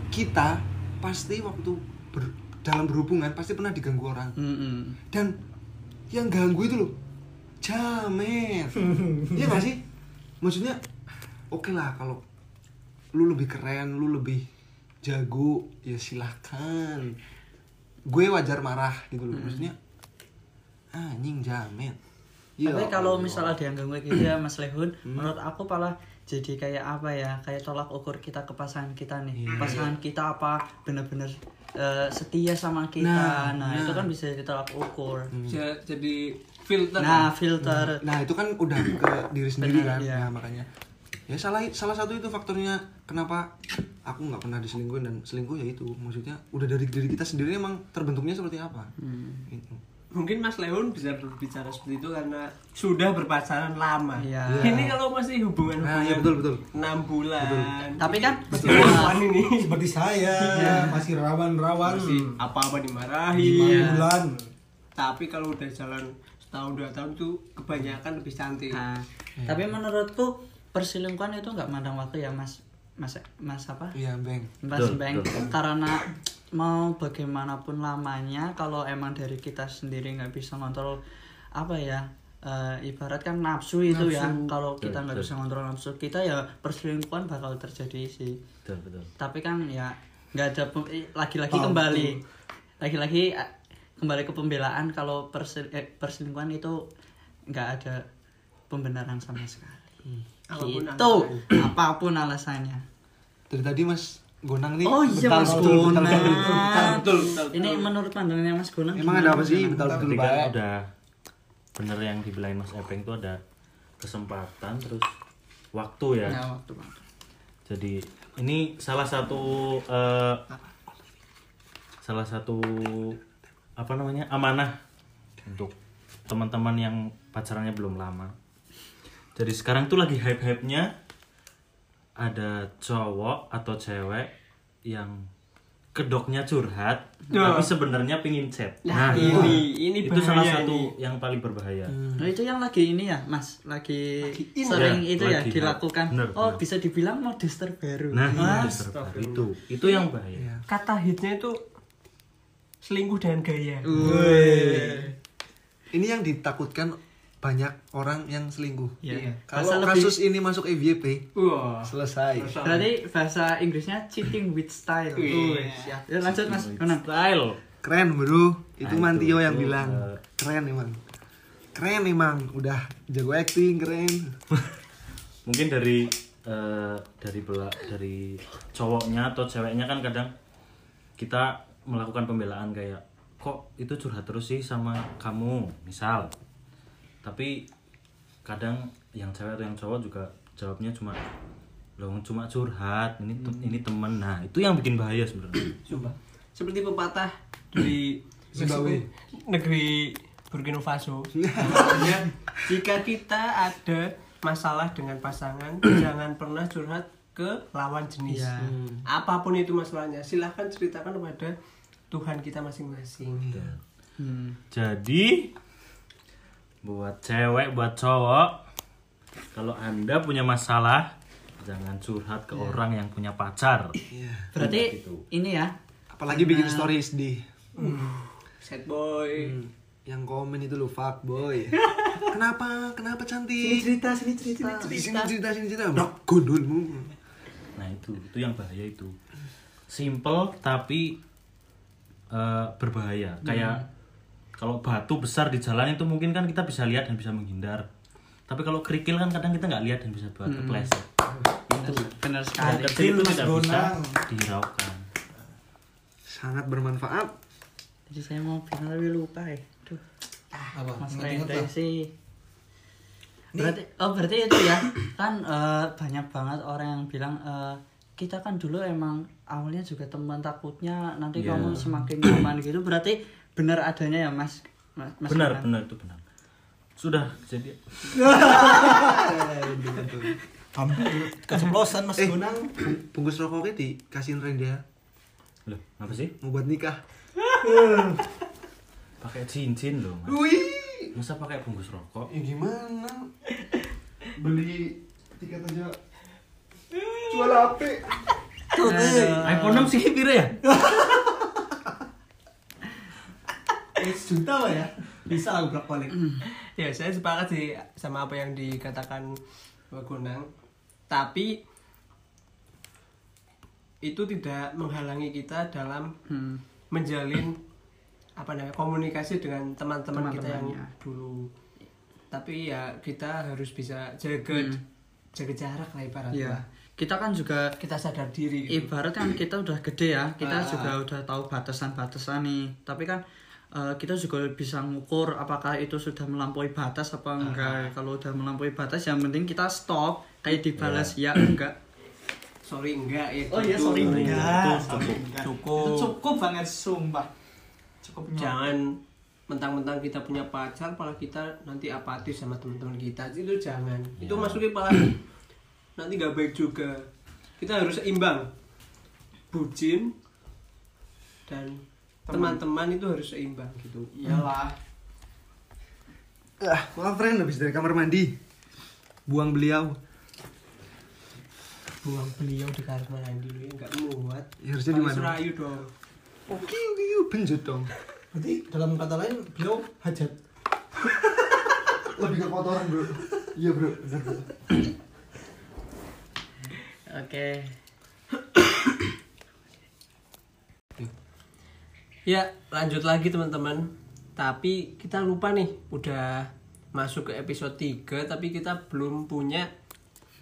Speaker 3: kita pasti waktu ber- dalam berhubungan pasti pernah diganggu orang
Speaker 1: Mm-mm.
Speaker 3: dan yang ganggu itu loh jamet iya gak sih maksudnya oke lah kalau lu lebih keren lu lebih jago ya silahkan gue wajar marah gitu loh maksudnya "Ah, anjing jamet Ya
Speaker 1: Tapi kalau
Speaker 3: Allah.
Speaker 1: misal ada yang ganggu kayak gitu ya Mas Lehun, menurut aku malah jadi kayak apa ya? Kayak tolak ukur kita ke pasangan kita nih. Pasangan kita apa bener-bener eh, setia sama kita. Nah, itu kan bisa ditolak ukur.
Speaker 4: Ja- jadi filter
Speaker 1: Nah, filter.
Speaker 3: nah itu kan udah ke diri sendiri
Speaker 1: Hmm. Benar,
Speaker 3: kan
Speaker 1: iya.
Speaker 3: Nah, makanya ya salah salah satu itu faktornya kenapa aku nggak pernah diselingkuhin dan selingkuh ya itu maksudnya udah dari diri kita sendiri emang terbentuknya seperti apa
Speaker 1: Hmm.
Speaker 3: Gitu.
Speaker 4: mungkin Mas Leon bisa berbicara seperti itu karena sudah berpacaran lama
Speaker 1: Iya.
Speaker 4: ini kalau masih hubungan
Speaker 3: Nah, iya, betul, betul.
Speaker 4: 6 bulan
Speaker 1: Tapi kan
Speaker 4: Perempuan ini
Speaker 2: Seperti saya masih rawan-rawan.
Speaker 4: masih
Speaker 1: Hmm.
Speaker 4: apa-apa
Speaker 2: Lima
Speaker 4: dimarahi
Speaker 2: bulan.
Speaker 4: tapi kalau udah jalan setahun dua tahun tuh kebanyakan lebih cantik
Speaker 1: Nah, tapi menurutku perselingkuhan itu nggak mandang waktu ya Mas Mas Mas apa?
Speaker 3: iya bang
Speaker 1: Mas Beng karena mau bagaimanapun lamanya kalau emang dari kita sendiri nggak bisa ngontrol apa ya eh, ibarat kan nafsu itu ya kalau kita nggak bisa ngontrol nafsu kita ya perselingkuhan bakal terjadi sih
Speaker 5: betul betul
Speaker 1: tapi kan ya nggak ada pem- eh, lagi-lagi kembali lagi-lagi eh, kembali ke pembelaan kalau persel- eh, perselingkuhan itu nggak ada pembenaran sama sekali
Speaker 4: Apapun
Speaker 1: itu apapun alasannya
Speaker 3: dari tadi mas Gonang nih
Speaker 1: Oh iya Mas
Speaker 3: betul,
Speaker 1: Gonang.
Speaker 3: betul, betul.
Speaker 4: betul, betul,
Speaker 1: Ini menurut pandangannya Mas Gonang.
Speaker 3: emang ada
Speaker 1: gimana,
Speaker 3: apa sih
Speaker 1: Mas
Speaker 3: betul betul
Speaker 5: Berarti kan
Speaker 3: baik
Speaker 5: udah bener yang dibilangin Mas Epeng itu ada kesempatan terus waktu ya.
Speaker 1: Gonang?
Speaker 4: Iya.
Speaker 1: Ya waktu Bang.
Speaker 5: Jadi ini salah satu eh, salah satu apa namanya amanah untuk teman-teman yang pacarannya belum lama. Jadi sekarang tuh lagi hype-hype-nya ada cowok atau cewek yang kedoknya curhat
Speaker 4: Ya.
Speaker 5: tapi sebenarnya pingin chat.
Speaker 4: Nah, ini
Speaker 3: Iya.
Speaker 4: ini
Speaker 5: itu salah
Speaker 4: bahaya
Speaker 5: satu
Speaker 4: ini. Hmm.
Speaker 5: yang paling berbahaya.
Speaker 1: Nah, itu yang lagi ini ya, Mas. Lagi,
Speaker 4: ini.
Speaker 1: sering
Speaker 5: Ya,
Speaker 1: itu ya
Speaker 5: lagi.
Speaker 1: dilakukan.
Speaker 5: Bener,
Speaker 1: oh,
Speaker 5: bener.
Speaker 1: bisa dibilang modus terbaru.
Speaker 5: Nah, ini
Speaker 1: Mas,
Speaker 5: dasar baru itu itu yang bahaya.
Speaker 4: kata hitnya itu selingkuh dengan gaya
Speaker 3: ini yang ditakutkan banyak orang yang selingkuh
Speaker 1: Iya.
Speaker 3: kalau
Speaker 1: Bahasa lebih-
Speaker 3: kasus ini masuk EVP
Speaker 4: wah
Speaker 3: selesai
Speaker 1: berarti bahasa Inggrisnya cheating with style.
Speaker 4: Iya.
Speaker 1: Wih, siap. Ya, lanjut Mas Gonang.
Speaker 5: Style.
Speaker 3: keren bro itu
Speaker 5: Nah,
Speaker 3: Mantio
Speaker 5: itu,
Speaker 3: yang
Speaker 5: itu,
Speaker 3: bilang
Speaker 5: eh.
Speaker 3: keren emang keren emang udah jago acting keren
Speaker 5: Mungkin dari eh, dari bela dari cowoknya atau ceweknya kan kadang kita melakukan pembelaan kayak kok itu curhat terus sih sama kamu misal. Tapi kadang yang cewek atau yang cowok juga jawabnya cuma loh cuma curhat ini tem-
Speaker 4: Hmm.
Speaker 5: ini temen nah itu yang bikin bahaya sebenarnya
Speaker 4: Sumpah. Seperti pepatah dari
Speaker 3: Zimbabwe.
Speaker 4: negeri Burkina Faso. Katanya, Jika kita ada masalah dengan pasangan, jangan pernah curhat ke lawan jenis.
Speaker 1: Iya.
Speaker 4: Apapun itu masalahnya, silahkan ceritakan kepada Tuhan kita masing-masing.
Speaker 1: Hmm.
Speaker 5: Gitu. Jadi buat cewek, buat cowok, kalau Anda punya masalah, jangan curhat
Speaker 1: Iya.
Speaker 5: ke orang yang punya pacar.
Speaker 1: Berarti
Speaker 5: Gitu.
Speaker 1: ini ya.
Speaker 3: apalagi bikin stories di
Speaker 4: Sad boy.
Speaker 3: yang komen itu lo fuck boy kenapa kenapa cantik
Speaker 2: Cerita sini cerita.
Speaker 3: sini cerita sini cerita Brak, gundulmu
Speaker 5: Nah, itu itu yang bahaya itu. Simple tapi eh, berbahaya.
Speaker 1: Hmm.
Speaker 5: Kayak kalau batu besar di jalan itu mungkin kan kita bisa lihat dan bisa menghindar. Tapi kalau kerikil kan kadang kita nggak lihat dan bisa buat
Speaker 1: Hmm.
Speaker 5: kepleset.
Speaker 1: Benar
Speaker 5: Yang
Speaker 1: sekali.
Speaker 5: kecil itu
Speaker 2: Mas
Speaker 5: tidak bisa
Speaker 2: Bonang.
Speaker 5: dihiraukan.
Speaker 3: sangat bermanfaat
Speaker 1: Jadi saya mau bilang tapi lupa ya. Duh,
Speaker 2: Apa?
Speaker 1: Mas
Speaker 2: Ingat-ingat
Speaker 1: Rente
Speaker 2: lah.
Speaker 1: sih. berarti oh berarti itu ya kan eh, banyak banget orang yang bilang eh, kita kan dulu emang awalnya juga teman takutnya nanti
Speaker 5: Iya.
Speaker 1: kamu semakin nyaman gitu berarti benar adanya ya mas mas, Mas
Speaker 5: benar
Speaker 1: Kenan?
Speaker 5: benar itu benar sudah jadi
Speaker 2: Hampir keceplosan Mas
Speaker 3: Eh,
Speaker 2: Gunang.
Speaker 3: bungkus rokoknya dikasihin Rendia
Speaker 5: loh apa sih
Speaker 3: mau buat nikah.
Speaker 5: pakai cincin loh Mas.
Speaker 3: Wih,
Speaker 5: masa pakai bungkus rokok
Speaker 3: ya gimana? Beli tiket aja jual HP.
Speaker 1: Aduh.
Speaker 5: iPhone 6 sih pira ya
Speaker 2: Eh, sejuta lah ya. Bisa lah bolak balik.
Speaker 4: ya saya sepakat sih sama apa yang dikatakan Mbak Gonang tapi itu tidak menghalangi kita dalam
Speaker 1: Hmm.
Speaker 4: menjalin apa namanya komunikasi dengan teman-teman kita yang
Speaker 1: Teman-temannya.
Speaker 4: dulu tapi ya kita harus bisa jaga jaga jarak lah ibaratnya
Speaker 1: Hmm. Iya. kita kan juga
Speaker 4: kita sadar diri gitu.
Speaker 1: ibarat kan kita udah gede ya kita
Speaker 4: Ah.
Speaker 1: juga udah tahu batasan-batasan nih tapi kan eh, kita juga bisa ngukur apakah itu sudah melampaui batas apa enggak kalau udah melampaui batas yang penting kita stop kayak dibalas ya enggak
Speaker 4: sorry enggak ya
Speaker 1: Oh iya,
Speaker 4: gitu.
Speaker 1: sorry,
Speaker 2: Enggak.
Speaker 4: Cukup.
Speaker 2: Cukup banget sumpah. Cukup
Speaker 4: jangan mentang-mentang kita punya pacar malah kita nanti apatis sama teman-teman kita itu jangan itu masuknya malah nanti gak baik juga kita harus seimbang bucin dan teman-teman itu harus seimbang gitu
Speaker 2: Iyalah.
Speaker 3: Ah, maaf Ren, habis dari kamar mandi. Buang beliau.
Speaker 4: buang beliau di kamar mandi lu ya nggak muat
Speaker 3: Ya, harusnya di
Speaker 4: Paling
Speaker 3: mana?
Speaker 4: serayu dong
Speaker 3: Oke, oke, oke, benjut dong.
Speaker 2: Berarti dalam kata lain beliau hajat.
Speaker 3: Lebih ke kotoran, Oh, Bro. Iya, Bro. Benar, bro.
Speaker 1: oke
Speaker 4: ya lanjut lagi teman-teman tapi kita lupa nih udah masuk ke episode 3 tapi kita belum punya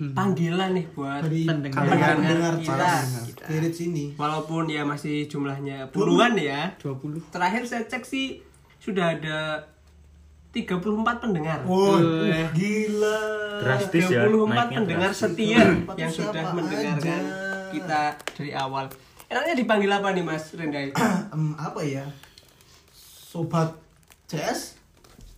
Speaker 2: Hmm.
Speaker 4: panggilan nih buat
Speaker 2: Dari
Speaker 1: Pendengar.
Speaker 2: pendengar Iya. pendengar
Speaker 4: Kita.
Speaker 2: kita. Spirit sini.
Speaker 4: Walaupun ya masih jumlahnya puluhan ya.
Speaker 1: 20
Speaker 4: Terakhir saya cek sih sudah ada 34 pendengar.
Speaker 2: Wah, gila.
Speaker 5: drastis ya
Speaker 4: 34
Speaker 5: naiknya
Speaker 4: pendengar
Speaker 5: drastis.
Speaker 4: setia
Speaker 2: 34
Speaker 4: yang
Speaker 2: siapa
Speaker 4: sudah mendengarkan
Speaker 2: aja.
Speaker 4: kita dari awal. Enaknya dipanggil apa nih Mas Rendai?
Speaker 2: Em, apa ya? Sobat CS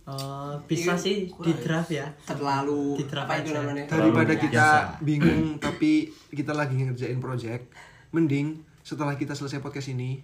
Speaker 1: Eh, bisa
Speaker 4: Iya,
Speaker 1: sih di draft ya
Speaker 4: Terlalu
Speaker 1: Di draft
Speaker 4: apa itu
Speaker 1: aja.
Speaker 4: namanya?
Speaker 3: Daripada
Speaker 5: Terlalu
Speaker 3: kita
Speaker 5: biasa.
Speaker 3: bingung tapi kita lagi ngerjain project, mending setelah kita selesai podcast ini,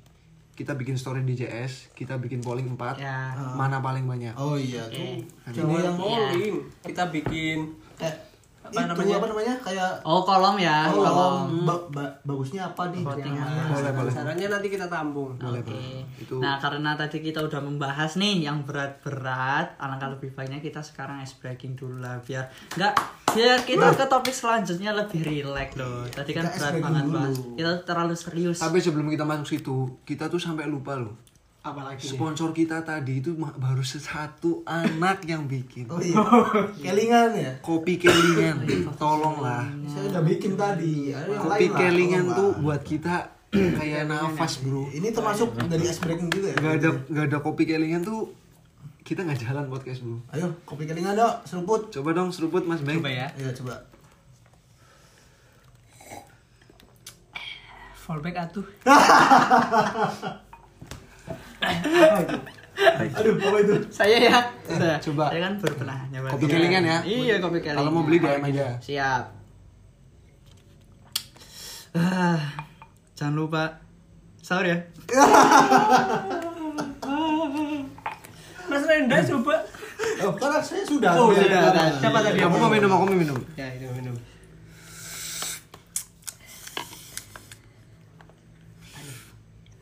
Speaker 3: kita bikin story di JS, kita bikin polling 4.
Speaker 1: Ya.
Speaker 3: Mana paling banyak?
Speaker 2: Oh iya,
Speaker 1: Oke.
Speaker 2: tuh. Jangan
Speaker 4: Jangan
Speaker 2: yang
Speaker 4: polling. Iya. Kita bikin
Speaker 2: kayak
Speaker 4: Apa
Speaker 2: itu
Speaker 4: namanya?
Speaker 2: apa namanya? Kayak
Speaker 1: oh kolom ya
Speaker 2: oh,
Speaker 1: kolom
Speaker 2: ba- ba- bagusnya apa nih?
Speaker 1: Votingan.
Speaker 3: Boleh, boleh.
Speaker 4: sarannya nanti kita tampung.
Speaker 3: Boleh,
Speaker 1: Oke.
Speaker 3: boleh. Itu
Speaker 1: Nah, karena tadi kita udah membahas nih yang berat-berat, alangkah lebih baiknya kita sekarang ice breaking dulu lah biar nggak biar kita ke topik selanjutnya lebih rileks loh. Tadi kan
Speaker 2: Iya. kita ice
Speaker 1: berat
Speaker 2: breaking
Speaker 1: banget
Speaker 2: dulu.
Speaker 1: bahas. Kita terlalu serius.
Speaker 3: tapi sebelum kita masuk situ, kita tuh sampai lupa loh.
Speaker 4: Apalagi nih?
Speaker 3: Sponsor kita tadi itu ma- baru satu anak yang bikin.
Speaker 2: Oh iya. Kelingan ya.
Speaker 3: Kopi kelingan, tolonglah.
Speaker 2: Saya udah bikin tadi. Ada yang
Speaker 3: Kopi
Speaker 2: lain lah,
Speaker 3: kelingan
Speaker 2: tolong
Speaker 3: tuh
Speaker 2: lah.
Speaker 3: buat kita kayak nafas bro.
Speaker 2: ini termasuk dari ice breaking juga ya.
Speaker 3: Gak ada gak ada kopi kelingan tuh kita nggak jalan podcast bro.
Speaker 2: Ayo, kopi kelingan dok, seruput.
Speaker 3: Coba dong seruput mas Beng.
Speaker 4: Coba ya.
Speaker 2: Ayo coba.
Speaker 4: Fallback atuh.
Speaker 2: Aduh, apa itu?
Speaker 1: Saya ya. Udah.
Speaker 3: coba.
Speaker 1: Saya kan baru pernah nyoba.
Speaker 3: Kopi kelingan ya.
Speaker 1: Iya, kopi kelingan.
Speaker 3: Kalau mau beli DM aja.
Speaker 1: Siap. Ah, jangan lupa sahur ya.
Speaker 4: Mas Rendai coba.
Speaker 2: Oh, karena saya sudah.
Speaker 4: Oh,
Speaker 2: Saya
Speaker 4: sudah,
Speaker 2: sudah.
Speaker 4: sudah. Siapa tadi?
Speaker 3: Kamu mau minum aku mau minum.
Speaker 4: Ya, itu minum.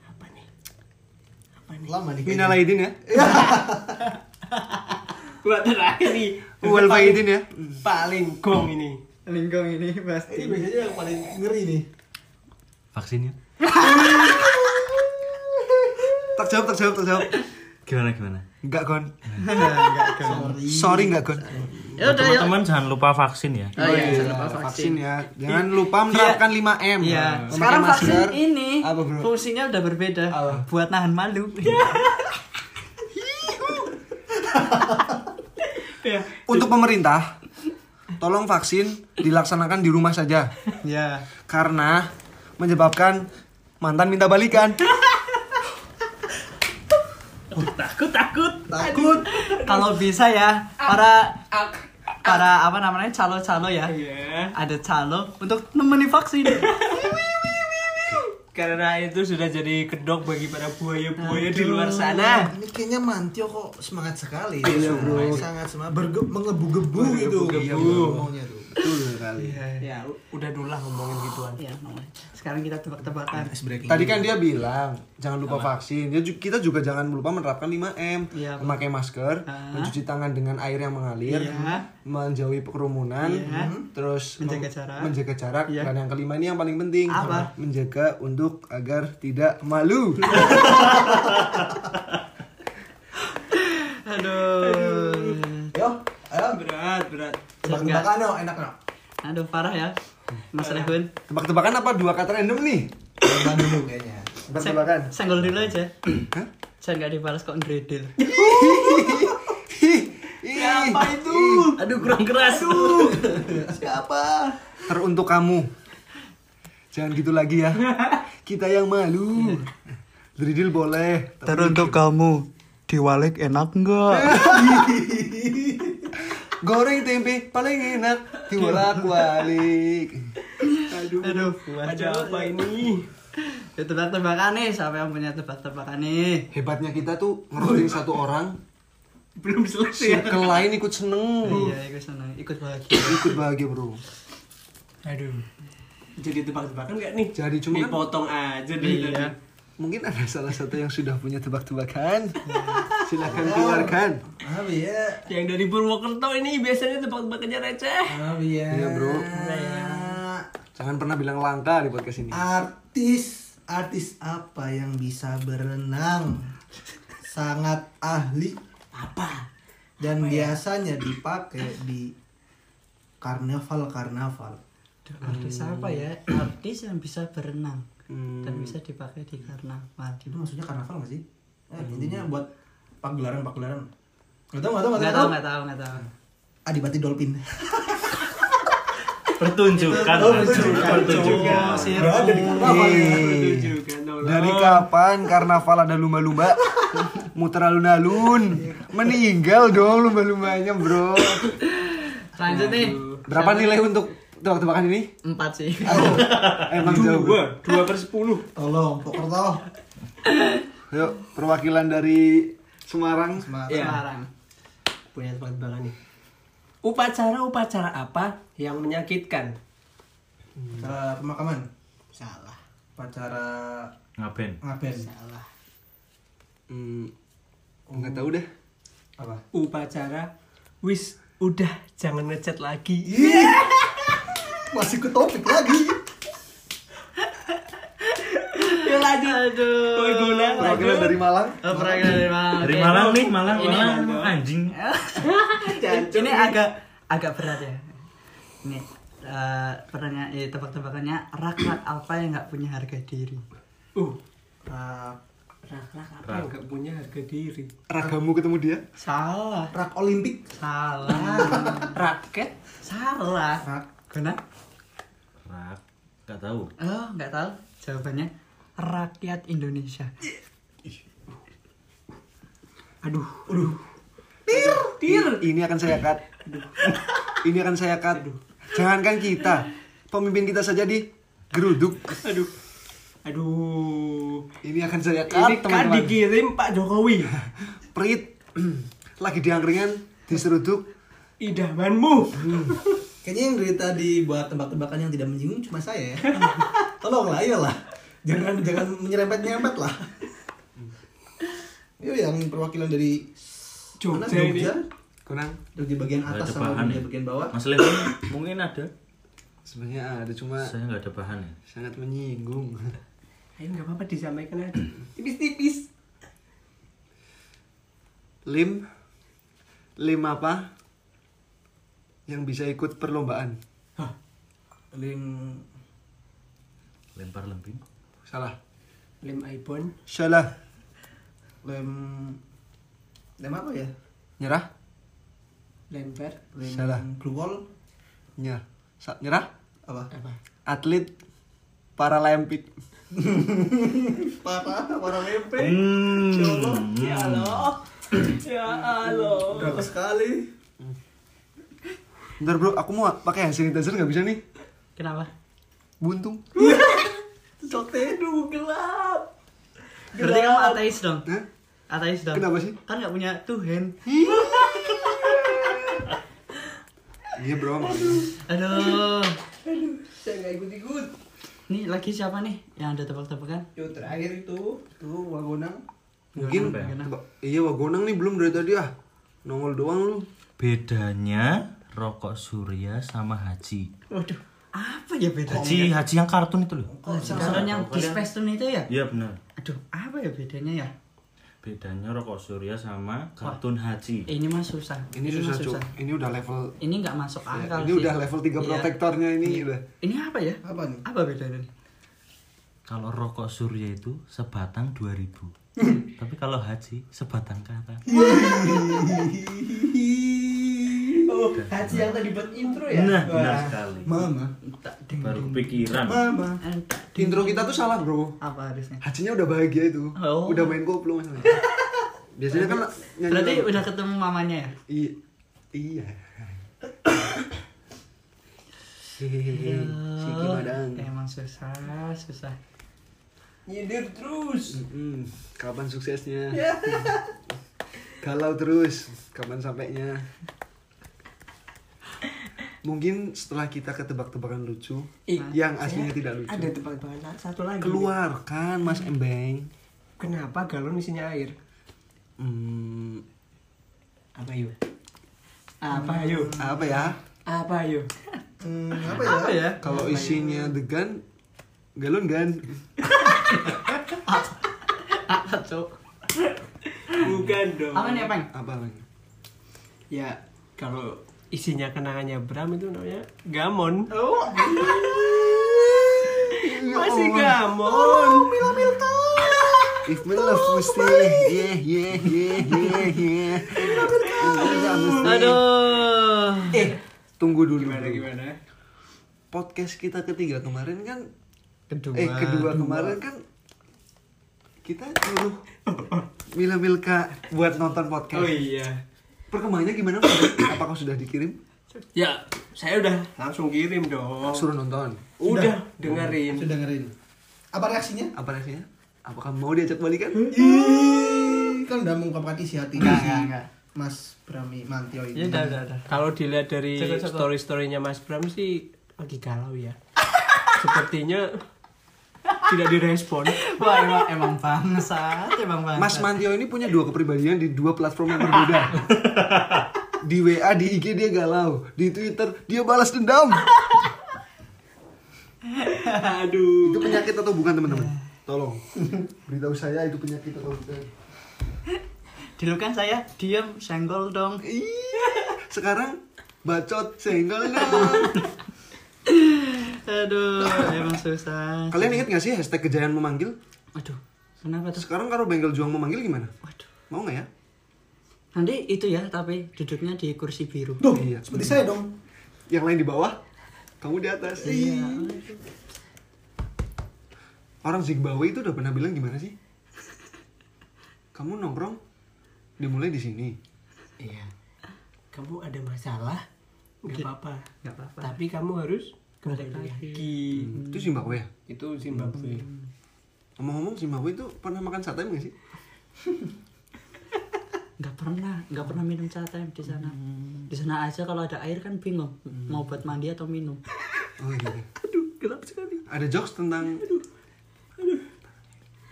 Speaker 4: Apa nih? Apa nih?
Speaker 2: Lama nih.
Speaker 3: Minal Aidin ya.
Speaker 1: Eh,
Speaker 4: Buat terakhir nih.
Speaker 3: Wal Faidin ya.
Speaker 4: Paling gong ini.
Speaker 1: Lingkong ini
Speaker 2: Ini
Speaker 3: Eh,
Speaker 1: pasti.
Speaker 2: biasanya yang paling ngeri nih.
Speaker 5: vaksinnya
Speaker 3: Tak jawab tak jawab tak jawab.
Speaker 5: gimana gimana
Speaker 3: Enggak kon.
Speaker 2: Sorry.
Speaker 3: Sorry enggak kon.
Speaker 1: Ya udah ya.
Speaker 5: teman-teman jangan lupa vaksin ya
Speaker 1: Oh iya, jangan lupa vaksin.
Speaker 3: Vaksin ya. Jangan lupa menerapkan 5 M.
Speaker 1: Iya. Sekarang vaksin ini
Speaker 3: Apa, bro?
Speaker 1: fungsinya udah berbeda.
Speaker 3: Apa?
Speaker 1: Buat nahan malu.
Speaker 4: Ya,
Speaker 1: Iya.
Speaker 3: Untuk pemerintah, tolong vaksin dilaksanakan di rumah saja
Speaker 1: Ya.
Speaker 3: karena menyebabkan mantan minta balikan.
Speaker 5: takut takut
Speaker 2: takut
Speaker 1: Kalau bisa ya para para apa namanya calo-calo ya.
Speaker 4: Iya.
Speaker 1: Ada calo untuk nemeni vaksin.
Speaker 4: Karena itu sudah jadi kedok bagi para buaya-buaya di luar sana.
Speaker 2: ini kayaknya Mantio kok semangat sekali
Speaker 4: Iya, bro.
Speaker 2: sangat semangat berge menggebu-gebu gitu
Speaker 4: Bergebu-gebu.
Speaker 2: ngomongnya tuh betul kali
Speaker 1: Iya,
Speaker 4: Ya, u- udah dulu lah ngomongin gituan.
Speaker 1: ya, namanya. Sekarang kita tebak-tebakan.
Speaker 2: Ice breaking.
Speaker 3: Tadi kan dia bilang jangan lupa vaksin. Dia ju- kita juga jangan lupa menerapkan 5M,
Speaker 1: Iya,
Speaker 3: memakai masker,
Speaker 1: Ah.
Speaker 3: mencuci tangan dengan air yang mengalir,
Speaker 1: Iya.
Speaker 3: menjauhi kerumunan,
Speaker 1: Iya.
Speaker 3: mhm, terus
Speaker 1: Menjaga
Speaker 3: mem-
Speaker 1: jarak.
Speaker 3: menjaga jarak.
Speaker 1: Iya.
Speaker 3: Dan yang kelima ini yang paling penting,
Speaker 1: Apa?
Speaker 3: menjaga untuk agar tidak malu.
Speaker 1: Aduh.
Speaker 2: yo ayo
Speaker 4: Berat, berat.
Speaker 2: tebak-tebakan no enak no
Speaker 1: Aduh parah ya. Mas Rehun.
Speaker 3: Tebak-tebakan apa dua kata random nih?
Speaker 2: Tebakan dulu kayaknya
Speaker 3: Tebak-tebakan.
Speaker 1: Senggol dulu aja.
Speaker 3: Hah?
Speaker 1: Jangan gak dibalas kok ngredil.
Speaker 3: Siapa itu?
Speaker 5: aduh kurang keras tuh
Speaker 2: siapa
Speaker 3: Teruntuk kamu. Jangan gitu lagi ya. Kita yang malu. Dridil boleh. gitu.
Speaker 1: Teruntuk kamu diwalek enak enggak?
Speaker 3: Goreng tempe paling enak dibolak balik.
Speaker 4: Aduh,
Speaker 1: Aduh,
Speaker 4: ada apa ini?
Speaker 1: Ya tebak-tebakan nih, siapa yang punya tebak-tebakan nih?
Speaker 3: Hebatnya kita tuh ngeroling satu orang,
Speaker 4: Belum selesai.
Speaker 3: circle lain ikut seneng,
Speaker 1: Iya, ikut senang, ikut bahagia.
Speaker 3: ikut bahagia bro.
Speaker 4: Aduh. Jadi tebak-tebakan nggak nih?
Speaker 3: Jadi cuma kan
Speaker 4: Dipotong aja deh
Speaker 1: Iya.
Speaker 4: tadi.
Speaker 3: mungkin ada salah satu yang sudah punya tebak-tebakan. Silahkan keluarkan.
Speaker 2: Abi ya
Speaker 4: Yang dari Purwokerto ini biasanya tebak-tebakannya receh.
Speaker 2: Abi ya
Speaker 3: Iya, bro. Jangan pernah bilang langka di podcast
Speaker 2: Ah,
Speaker 3: ini.
Speaker 2: artis artis apa yang bisa berenang sangat ahli apa ya? dan biasanya dipakai di karnaval karnaval
Speaker 1: Artis apa ya? Artis yang bisa berenang
Speaker 3: Hmm.
Speaker 1: dan bisa dipakai di karnaval.
Speaker 2: itu maksudnya karnaval nggak sih eh, intinya buat pagelaran pagelaran nggak tahu nggak tahu
Speaker 1: Enggak
Speaker 2: nggak
Speaker 1: tahu,
Speaker 2: tahu Ah,
Speaker 1: enggak tahu, enggak tahu.
Speaker 2: adibati dolphin
Speaker 5: pertunjukan pertunjukan pertunjukan
Speaker 1: Berada di
Speaker 4: Iya. ya.
Speaker 2: karnaval
Speaker 3: Yeay. Iya.
Speaker 4: kan,
Speaker 3: Dari kapan karnaval ada lumba-lumba? Muter alun-alun. Meninggal dong lumba-lumbanya, bro.
Speaker 1: Lanjut nih.
Speaker 3: Berapa nilai untuk tebak-tebakan ini?
Speaker 1: Empat sih.
Speaker 3: Emang jauh. bro.
Speaker 4: Dua, dua per sepuluh.
Speaker 2: tolong pokerto
Speaker 3: Yuk, perwakilan dari Semarang.
Speaker 2: Semarang.
Speaker 4: Iya.
Speaker 1: Semarang.
Speaker 4: Punya tebak-tebakan nih. Upacara-upacara apa yang menyakitkan?
Speaker 2: Cara pemakaman
Speaker 4: Salah.
Speaker 2: pacara
Speaker 5: ngapain
Speaker 2: ngaben
Speaker 4: Salah.
Speaker 3: Hmm, nggak tahu deh.
Speaker 2: apa
Speaker 4: Upacara wis udah jangan ngechat lagi.
Speaker 2: masih ke topik lagi
Speaker 4: Ya lanjut.
Speaker 1: Aduh.
Speaker 4: Boy Gula,
Speaker 3: Perwakilan dari Malang.
Speaker 1: Oh, perangkat dari Malang.
Speaker 5: dari
Speaker 1: Oke.
Speaker 5: Malang nih Malang
Speaker 1: Ini
Speaker 5: Malang
Speaker 4: Malang.
Speaker 5: anjing
Speaker 1: ini agak agak berat ya. Ini eh pertanyaan eh, tebak-tebakannya rakyat apa yang nggak punya harga diri?
Speaker 4: Uh,
Speaker 2: Rak,
Speaker 4: rak-rak apa yang nggak punya harga diri?
Speaker 3: Ragamu ketemu dia.
Speaker 1: Salah,
Speaker 2: rak Olimpik.
Speaker 1: salah,
Speaker 4: Raket?
Speaker 1: salah. Guna?
Speaker 5: rak nggak tahu
Speaker 1: Oh, nggak tahu. Jawabannya rakyat Indonesia.
Speaker 4: Aduh. Aduh. Tir, tir.
Speaker 3: Ini akan saya cut. Ini akan saya cut. Jangankan kita, pemimpin kita saja di geruduk.
Speaker 4: Aduh. Aduh.
Speaker 3: Ini akan saya cut,
Speaker 4: Ini kan
Speaker 3: teman-teman.
Speaker 4: dikirim Pak Jokowi.
Speaker 3: Prit lagi diangkringan diseruduk
Speaker 4: Idamanmu.
Speaker 2: Kayaknya yang dari tadi buat tebak-tebakan yang tidak menyinggung cuma saya ya. Tolonglah, ayolah. Jangan jangan menyerempet-nyerempet lah. Yuk yang perwakilan dari mana?
Speaker 4: Jogja ini.
Speaker 2: Jogja,
Speaker 3: kunang
Speaker 2: Jogja bagian
Speaker 5: nggak ada
Speaker 2: atas sama
Speaker 5: bahan ya
Speaker 2: Jogja bagian bawah.
Speaker 5: Mas Levin mungkin ada
Speaker 3: sebenarnya ada cuma
Speaker 5: saya nggak ada bahan ya
Speaker 3: sangat menyinggung
Speaker 4: Ayo nggak apa-apa disampaikan aja. Tipis-tipis.
Speaker 3: lim lim apa yang bisa ikut perlombaan
Speaker 2: Lim
Speaker 5: lempar lemping
Speaker 3: salah
Speaker 4: Lem Ibon.
Speaker 3: salah
Speaker 2: lem lem apa ya?
Speaker 3: nyerah
Speaker 4: Lemper.
Speaker 2: Lem
Speaker 3: Salah.
Speaker 2: Blue wall.
Speaker 3: nyerah Sa- nyerah apa, atlet paralempik
Speaker 2: Parah, warna lempe.
Speaker 5: Hmm.
Speaker 4: ya Allah
Speaker 2: Drag sekali.
Speaker 3: bentar bro aku mau pakai hand sanitizer nggak bisa nih
Speaker 1: Kenapa?
Speaker 3: buntung
Speaker 2: Sote.
Speaker 4: aduh gelap
Speaker 1: Berarti kamu ateis dong.
Speaker 3: Hah?
Speaker 1: Ateis dong.
Speaker 3: Kenapa sih?
Speaker 1: Kan nggak punya Tuhan.
Speaker 3: iya bro makanya.
Speaker 1: Aduh.
Speaker 4: saya nggak ikut ikut
Speaker 1: Nih lagi siapa nih yang ada tebak-tebakan?
Speaker 4: yang terakhir itu
Speaker 3: tuh wagonang
Speaker 5: Mungkin
Speaker 3: Tebak- iya wagonang nih belum dari tadi ah nongol doang lu
Speaker 5: bedanya rokok surya sama haji.
Speaker 1: Waduh. Apa ya bedanya?
Speaker 5: Haji, haji yang kartun itu loh.
Speaker 1: Oh, sekarang yang di Spacetoon itu ya?
Speaker 5: Iya benar.
Speaker 1: Aduh, apa ya bedanya ya?
Speaker 5: Bedanya rokok surya sama kartun haji.
Speaker 1: Ini mah susah.
Speaker 3: ini
Speaker 1: mah
Speaker 3: susah cuk ini udah level ya,
Speaker 1: Ini nggak masuk akal
Speaker 3: ini
Speaker 1: sih.
Speaker 3: udah level 3
Speaker 1: Iya.
Speaker 3: protektornya ini udah
Speaker 1: Ini apa ya?
Speaker 2: Apa nih?
Speaker 1: Apa bedanya nih?
Speaker 5: Kalau rokok surya itu sebatang 2000. Tapi kalau haji sebatang kata.
Speaker 4: oh Haji yang tadi buat intro ya
Speaker 5: Nah, benar sekali.
Speaker 2: Mama.
Speaker 1: Entah ding.
Speaker 5: Baru kepikiran.
Speaker 2: Mama.
Speaker 1: Entah ding.
Speaker 3: intro kita tuh salah bro
Speaker 1: Apa harusnya?
Speaker 3: hajinya udah bahagia itu
Speaker 1: Oh.
Speaker 3: udah main koplo masalahnya biasanya kan nyanyi
Speaker 1: Berarti
Speaker 3: lagu-
Speaker 1: udah ketemu mamanya ya?
Speaker 3: I- iya hehehe si kimadang
Speaker 1: Ya, Emang susah, susah.
Speaker 4: nyindir terus
Speaker 3: Mm-mm. kapan suksesnya
Speaker 1: Ya.
Speaker 3: galau terus kapan sampainya mungkin setelah kita ketebak-tebakan lucu
Speaker 4: Ih,
Speaker 3: yang aslinya tidak lucu
Speaker 4: ada tempat banget satu lagi
Speaker 3: keluarkan mas embeng
Speaker 4: kenapa galon isinya air
Speaker 3: Hmm,
Speaker 4: apa yuk apa yuk
Speaker 3: apa ya
Speaker 4: apa yuk
Speaker 2: Hmm, apa ya?
Speaker 1: Apa ya?
Speaker 3: kalau isinya degan galon gan
Speaker 1: Apa tuh?
Speaker 4: bukan dong
Speaker 1: Apa nih, Peng?
Speaker 3: apa lagi
Speaker 4: ya kalau isinya kenangannya Bram itu namanya gamon masih gamon
Speaker 3: If we love
Speaker 4: Oh,
Speaker 3: we stay, yeah yeah yeah yeah yeah.
Speaker 1: Aduh.
Speaker 3: Eh, Tunggu dulu.
Speaker 4: gimana
Speaker 3: bro.
Speaker 4: gimana
Speaker 3: Podcast kita ketiga kemarin kan,
Speaker 1: Kedua.
Speaker 3: eh kedua kemarin kan kita dulu Mila Milka buat nonton podcast.
Speaker 4: oh iya
Speaker 3: Perkembangannya gimana? Bro? Apakah sudah dikirim?
Speaker 4: ya saya udah langsung kirim dong
Speaker 3: Suruh nonton.
Speaker 4: udah dengerin
Speaker 2: Sudah dengerin. Apa reaksinya?
Speaker 3: Apa rasanya? Apakah mau diajak balikan?
Speaker 2: Ih, kan udah mengungkapkan isi hatinya
Speaker 1: Enggak,
Speaker 2: si
Speaker 1: enggak, enggak.
Speaker 2: Mas Brami Mantio
Speaker 1: Ya
Speaker 2: ini.
Speaker 1: udah, udah, udah.
Speaker 4: kalau dilihat dari
Speaker 1: Cukup, cukup.
Speaker 4: story storynya Mas Bram sih lagi galau ya sepertinya tidak direspon
Speaker 1: Wah, emang, emang bangsat, emang bangsat.
Speaker 3: Mas Mantio ini punya dua kepribadian di dua platform yang berbeda. Di WA, di IG dia galau, di Twitter dia balas dendam.
Speaker 4: aduh
Speaker 3: Itu penyakit atau bukan teman-teman? Tolong Eh. beritahu saya itu penyakit atau bukan.
Speaker 1: Dulu kan saya diem, senggol dong.
Speaker 3: Iya. Sekarang bacot senggol dong.
Speaker 1: Aduh, emang susah.
Speaker 3: Kalian ingat gak sih hashtag kejayaan memanggil?
Speaker 1: Aduh, kenapa tuh?
Speaker 3: Sekarang kalau Bengkel Juang memanggil gimana?
Speaker 1: Waduh.
Speaker 3: Mau nggak ya?
Speaker 1: Nanti itu ya, tapi duduknya di kursi biru.
Speaker 2: Duh,
Speaker 3: Iya.
Speaker 2: seperti saya dong.
Speaker 3: Yang lain di bawah, kamu di atas.
Speaker 4: Iya.
Speaker 3: Orang Zigbawe itu udah pernah bilang gimana sih? Kamu nongkrong dimulai di sini.
Speaker 4: iya kamu ada masalah nggak apa-apa
Speaker 1: Gak apa-apa.
Speaker 4: tapi kamu harus kembali lagi
Speaker 3: Itu Zimbabwe ya?
Speaker 4: Hmm. itu Zimbabwe
Speaker 3: Ngomong-ngomong Zimbabwe itu pernah makan sate nggak sih?
Speaker 1: Gak pernah, gak pernah minum catem di sana.
Speaker 3: Hmm.
Speaker 1: Di sana aja kalau ada air kan bingung mau buat mandi atau minum.
Speaker 3: Oh iya.
Speaker 4: aduh gelap sekali
Speaker 3: Ada jokes tentang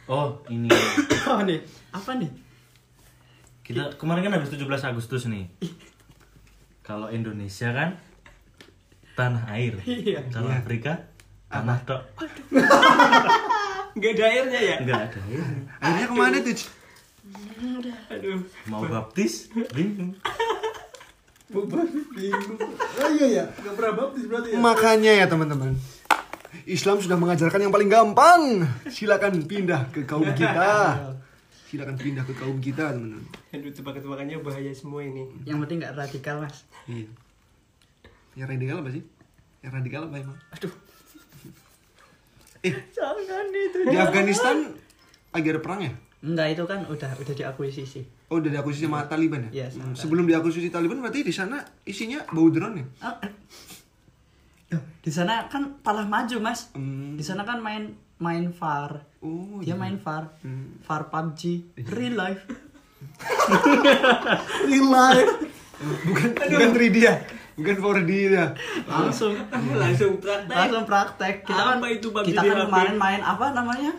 Speaker 5: Oh, ini.
Speaker 1: apa nih? Apa nih?
Speaker 5: Kita kemarin kan habis 17 Agustus nih. Kalau Indonesia kan tanah air.
Speaker 1: Iya.
Speaker 5: Kalau Afrika tanah tok.
Speaker 4: nggak ada airnya ya
Speaker 5: Enggak ada air.
Speaker 3: akhirnya kemana tuh? Ci?
Speaker 4: aduh
Speaker 5: Mau baptis bingung.
Speaker 2: Bubar bingung. Oh iya ya, enggak pernah baptis berarti ya.
Speaker 3: Makanya ya teman-teman. Islam sudah mengajarkan yang paling gampang. Silakan pindah ke kaum kita. Silakan pindah ke kaum kita, teman-teman.
Speaker 4: aduh tebak-tebakannya bahaya semua ini
Speaker 1: Yang penting gak radikal, Mas.
Speaker 3: Iya. Yang radikal apa sih? Yang radikal apa emang?
Speaker 4: Aduh.
Speaker 3: Eh,
Speaker 1: Jangan itu.
Speaker 3: di Afghanistan lagi ada perang ya?
Speaker 1: Enggak itu kan udah udah diakui sisi.
Speaker 3: Oh, udah diakuisisi sama Taliban ya?
Speaker 1: Iya, sama Taliban.
Speaker 3: Sebelum diakuisisi Taliban berarti di sana isinya bau drone ya?
Speaker 1: Ah, eh. Duh, di sana kan kalah maju mas.
Speaker 3: Hmm.
Speaker 1: Di sana kan main main far.
Speaker 3: Oh,
Speaker 1: Dia main far, far PUBG, real life.
Speaker 2: Real life.
Speaker 3: bukan bukan 3D ya? Bukan 4D ya?
Speaker 1: Langsung
Speaker 4: Langsung praktek.
Speaker 1: langsung praktek. Kita
Speaker 4: Apa
Speaker 1: kan
Speaker 4: itu PUBG
Speaker 1: kita
Speaker 4: di
Speaker 1: kan
Speaker 4: HP?
Speaker 1: kemarin main apa namanya?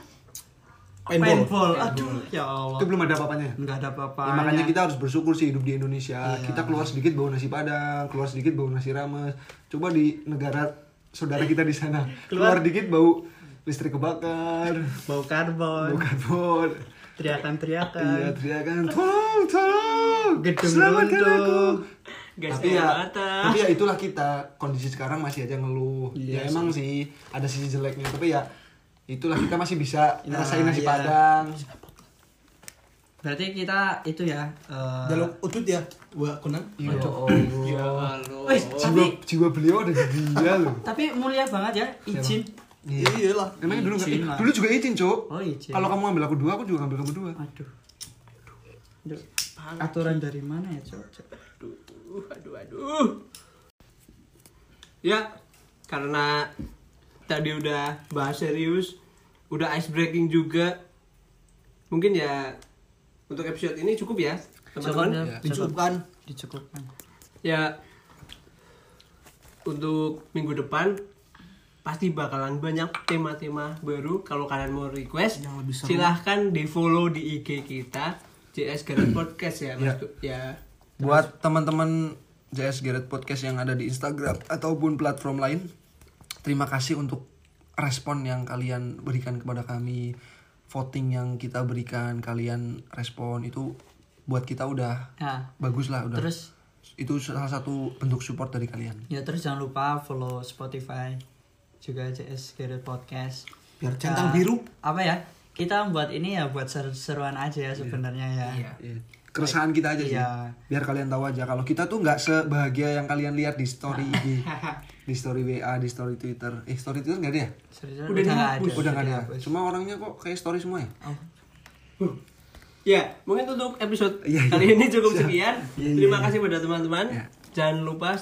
Speaker 2: Paintball.
Speaker 1: Aduh, ya Allah.
Speaker 3: Itu belum ada apa-apanya?
Speaker 1: Enggak ada apa-apa.
Speaker 3: Ya, makanya kita harus bersyukur sih hidup di Indonesia.
Speaker 1: Iya.
Speaker 3: Kita keluar sedikit bau nasi padang, keluar sedikit bau nasi rames. Coba di negara saudara kita di sana keluar, dikit bau listrik kebakar,
Speaker 1: bau karbon,
Speaker 3: bau karbon. Iya,
Speaker 1: teriakan-teriakan.
Speaker 3: teriakan tolong, tolong,
Speaker 1: Gedung
Speaker 3: selamatkan
Speaker 1: runtuh."
Speaker 3: aku.
Speaker 4: Guys,
Speaker 3: tapi ya,
Speaker 4: mata.
Speaker 3: tapi ya itulah kita kondisi sekarang masih aja ngeluh. ya emang sih ada sisi jeleknya, tapi ya itulah kita masih bisa
Speaker 1: Nah,
Speaker 3: ngerasain nasi
Speaker 1: iya.
Speaker 3: padang.
Speaker 1: Berarti kita itu ya. eh,
Speaker 2: Jaluk utut ya. Wah, kunang.
Speaker 3: Ya Allah.
Speaker 4: Halo.
Speaker 1: Wih,
Speaker 3: Jiwa,
Speaker 1: tapi
Speaker 3: jiwa beliau ada di dia loh.
Speaker 1: tapi mulia banget ya izin.
Speaker 3: Iya.
Speaker 2: Iyalah.
Speaker 3: Emangnya dulu nggak?
Speaker 1: Izin
Speaker 3: eh,
Speaker 1: lah.
Speaker 3: Dulu juga izin, Cuk.
Speaker 1: Oh izin.
Speaker 3: Kalau kamu ambil aku dua, aku juga ambil kamu dua.
Speaker 1: Aduh. Aduh. Aturan dari mana ya, Cok?
Speaker 4: Aduh, Uh, aduh, aduh. Ya, karena tadi udah bahas serius, udah ice breaking juga. Mungkin ya untuk episode ini cukup ya, teman-teman.
Speaker 2: Ya,
Speaker 1: Cukup.
Speaker 2: Dicukupkan.
Speaker 1: Dicukupkan.
Speaker 4: Ya untuk minggu depan pasti bakalan banyak tema-tema baru kalau kalian mau request
Speaker 2: Yang lebih seru.
Speaker 4: silahkan di follow di IG kita JS Garut Podcast ya Mas
Speaker 3: Ya.
Speaker 4: Tu- ya
Speaker 3: Buat teman-teman JS Garrett Podcast yang ada di Instagram ataupun platform lain, terima kasih untuk respon yang kalian berikan kepada kami, voting yang kita berikan, kalian respon itu buat kita udah
Speaker 1: Nah,
Speaker 3: bagus lah udah.
Speaker 1: terus
Speaker 3: itu salah satu bentuk support dari kalian.
Speaker 1: ya terus jangan lupa follow Spotify juga CS Garut Podcast.
Speaker 2: Biar centang biru.
Speaker 1: Apa ya? Kita buat ini ya buat seru-seruan aja ya sebenarnya ya.
Speaker 3: keresahan kita aja sih
Speaker 1: Iya.
Speaker 3: biar kalian tahu aja kalau kita tuh nggak sebahagia yang kalian lihat di story IG di story WA di story Twitter eh story Twitter nggak ada ya
Speaker 1: Seru-seruan
Speaker 4: Udah
Speaker 1: nggak
Speaker 4: dihapus.
Speaker 1: ada.
Speaker 3: udah nggak ada ya?
Speaker 1: dihapus.
Speaker 3: cuma orangnya kok kayak story semua ya
Speaker 4: Ya, mungkin untuk episode
Speaker 3: Iya, iya.
Speaker 4: kali ini cukup sekian.
Speaker 3: Iya, iya,
Speaker 4: Terima
Speaker 3: iya.
Speaker 4: kasih pada teman-teman. Jangan lupa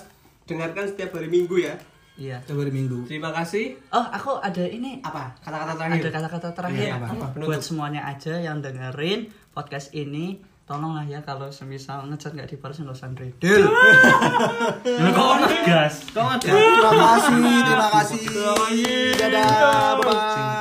Speaker 4: dengarkan setiap hari Minggu ya.
Speaker 1: Iya.
Speaker 2: Coba di minggu.
Speaker 4: Terima kasih.
Speaker 1: Oh, aku ada ini
Speaker 4: Apa? Kata-kata
Speaker 1: ada
Speaker 4: terakhir.
Speaker 1: kata-kata terakhir
Speaker 4: Iya, apa, apa? Penutup.
Speaker 1: buat semuanya aja yang dengerin podcast ini tolonglah ya kalau semisal ngecat nggak dipersen dosan redel Eh.
Speaker 5: Kok ngegas?
Speaker 1: kok ada
Speaker 2: Terima kasih, terima kasih. Dadah, bye-bye.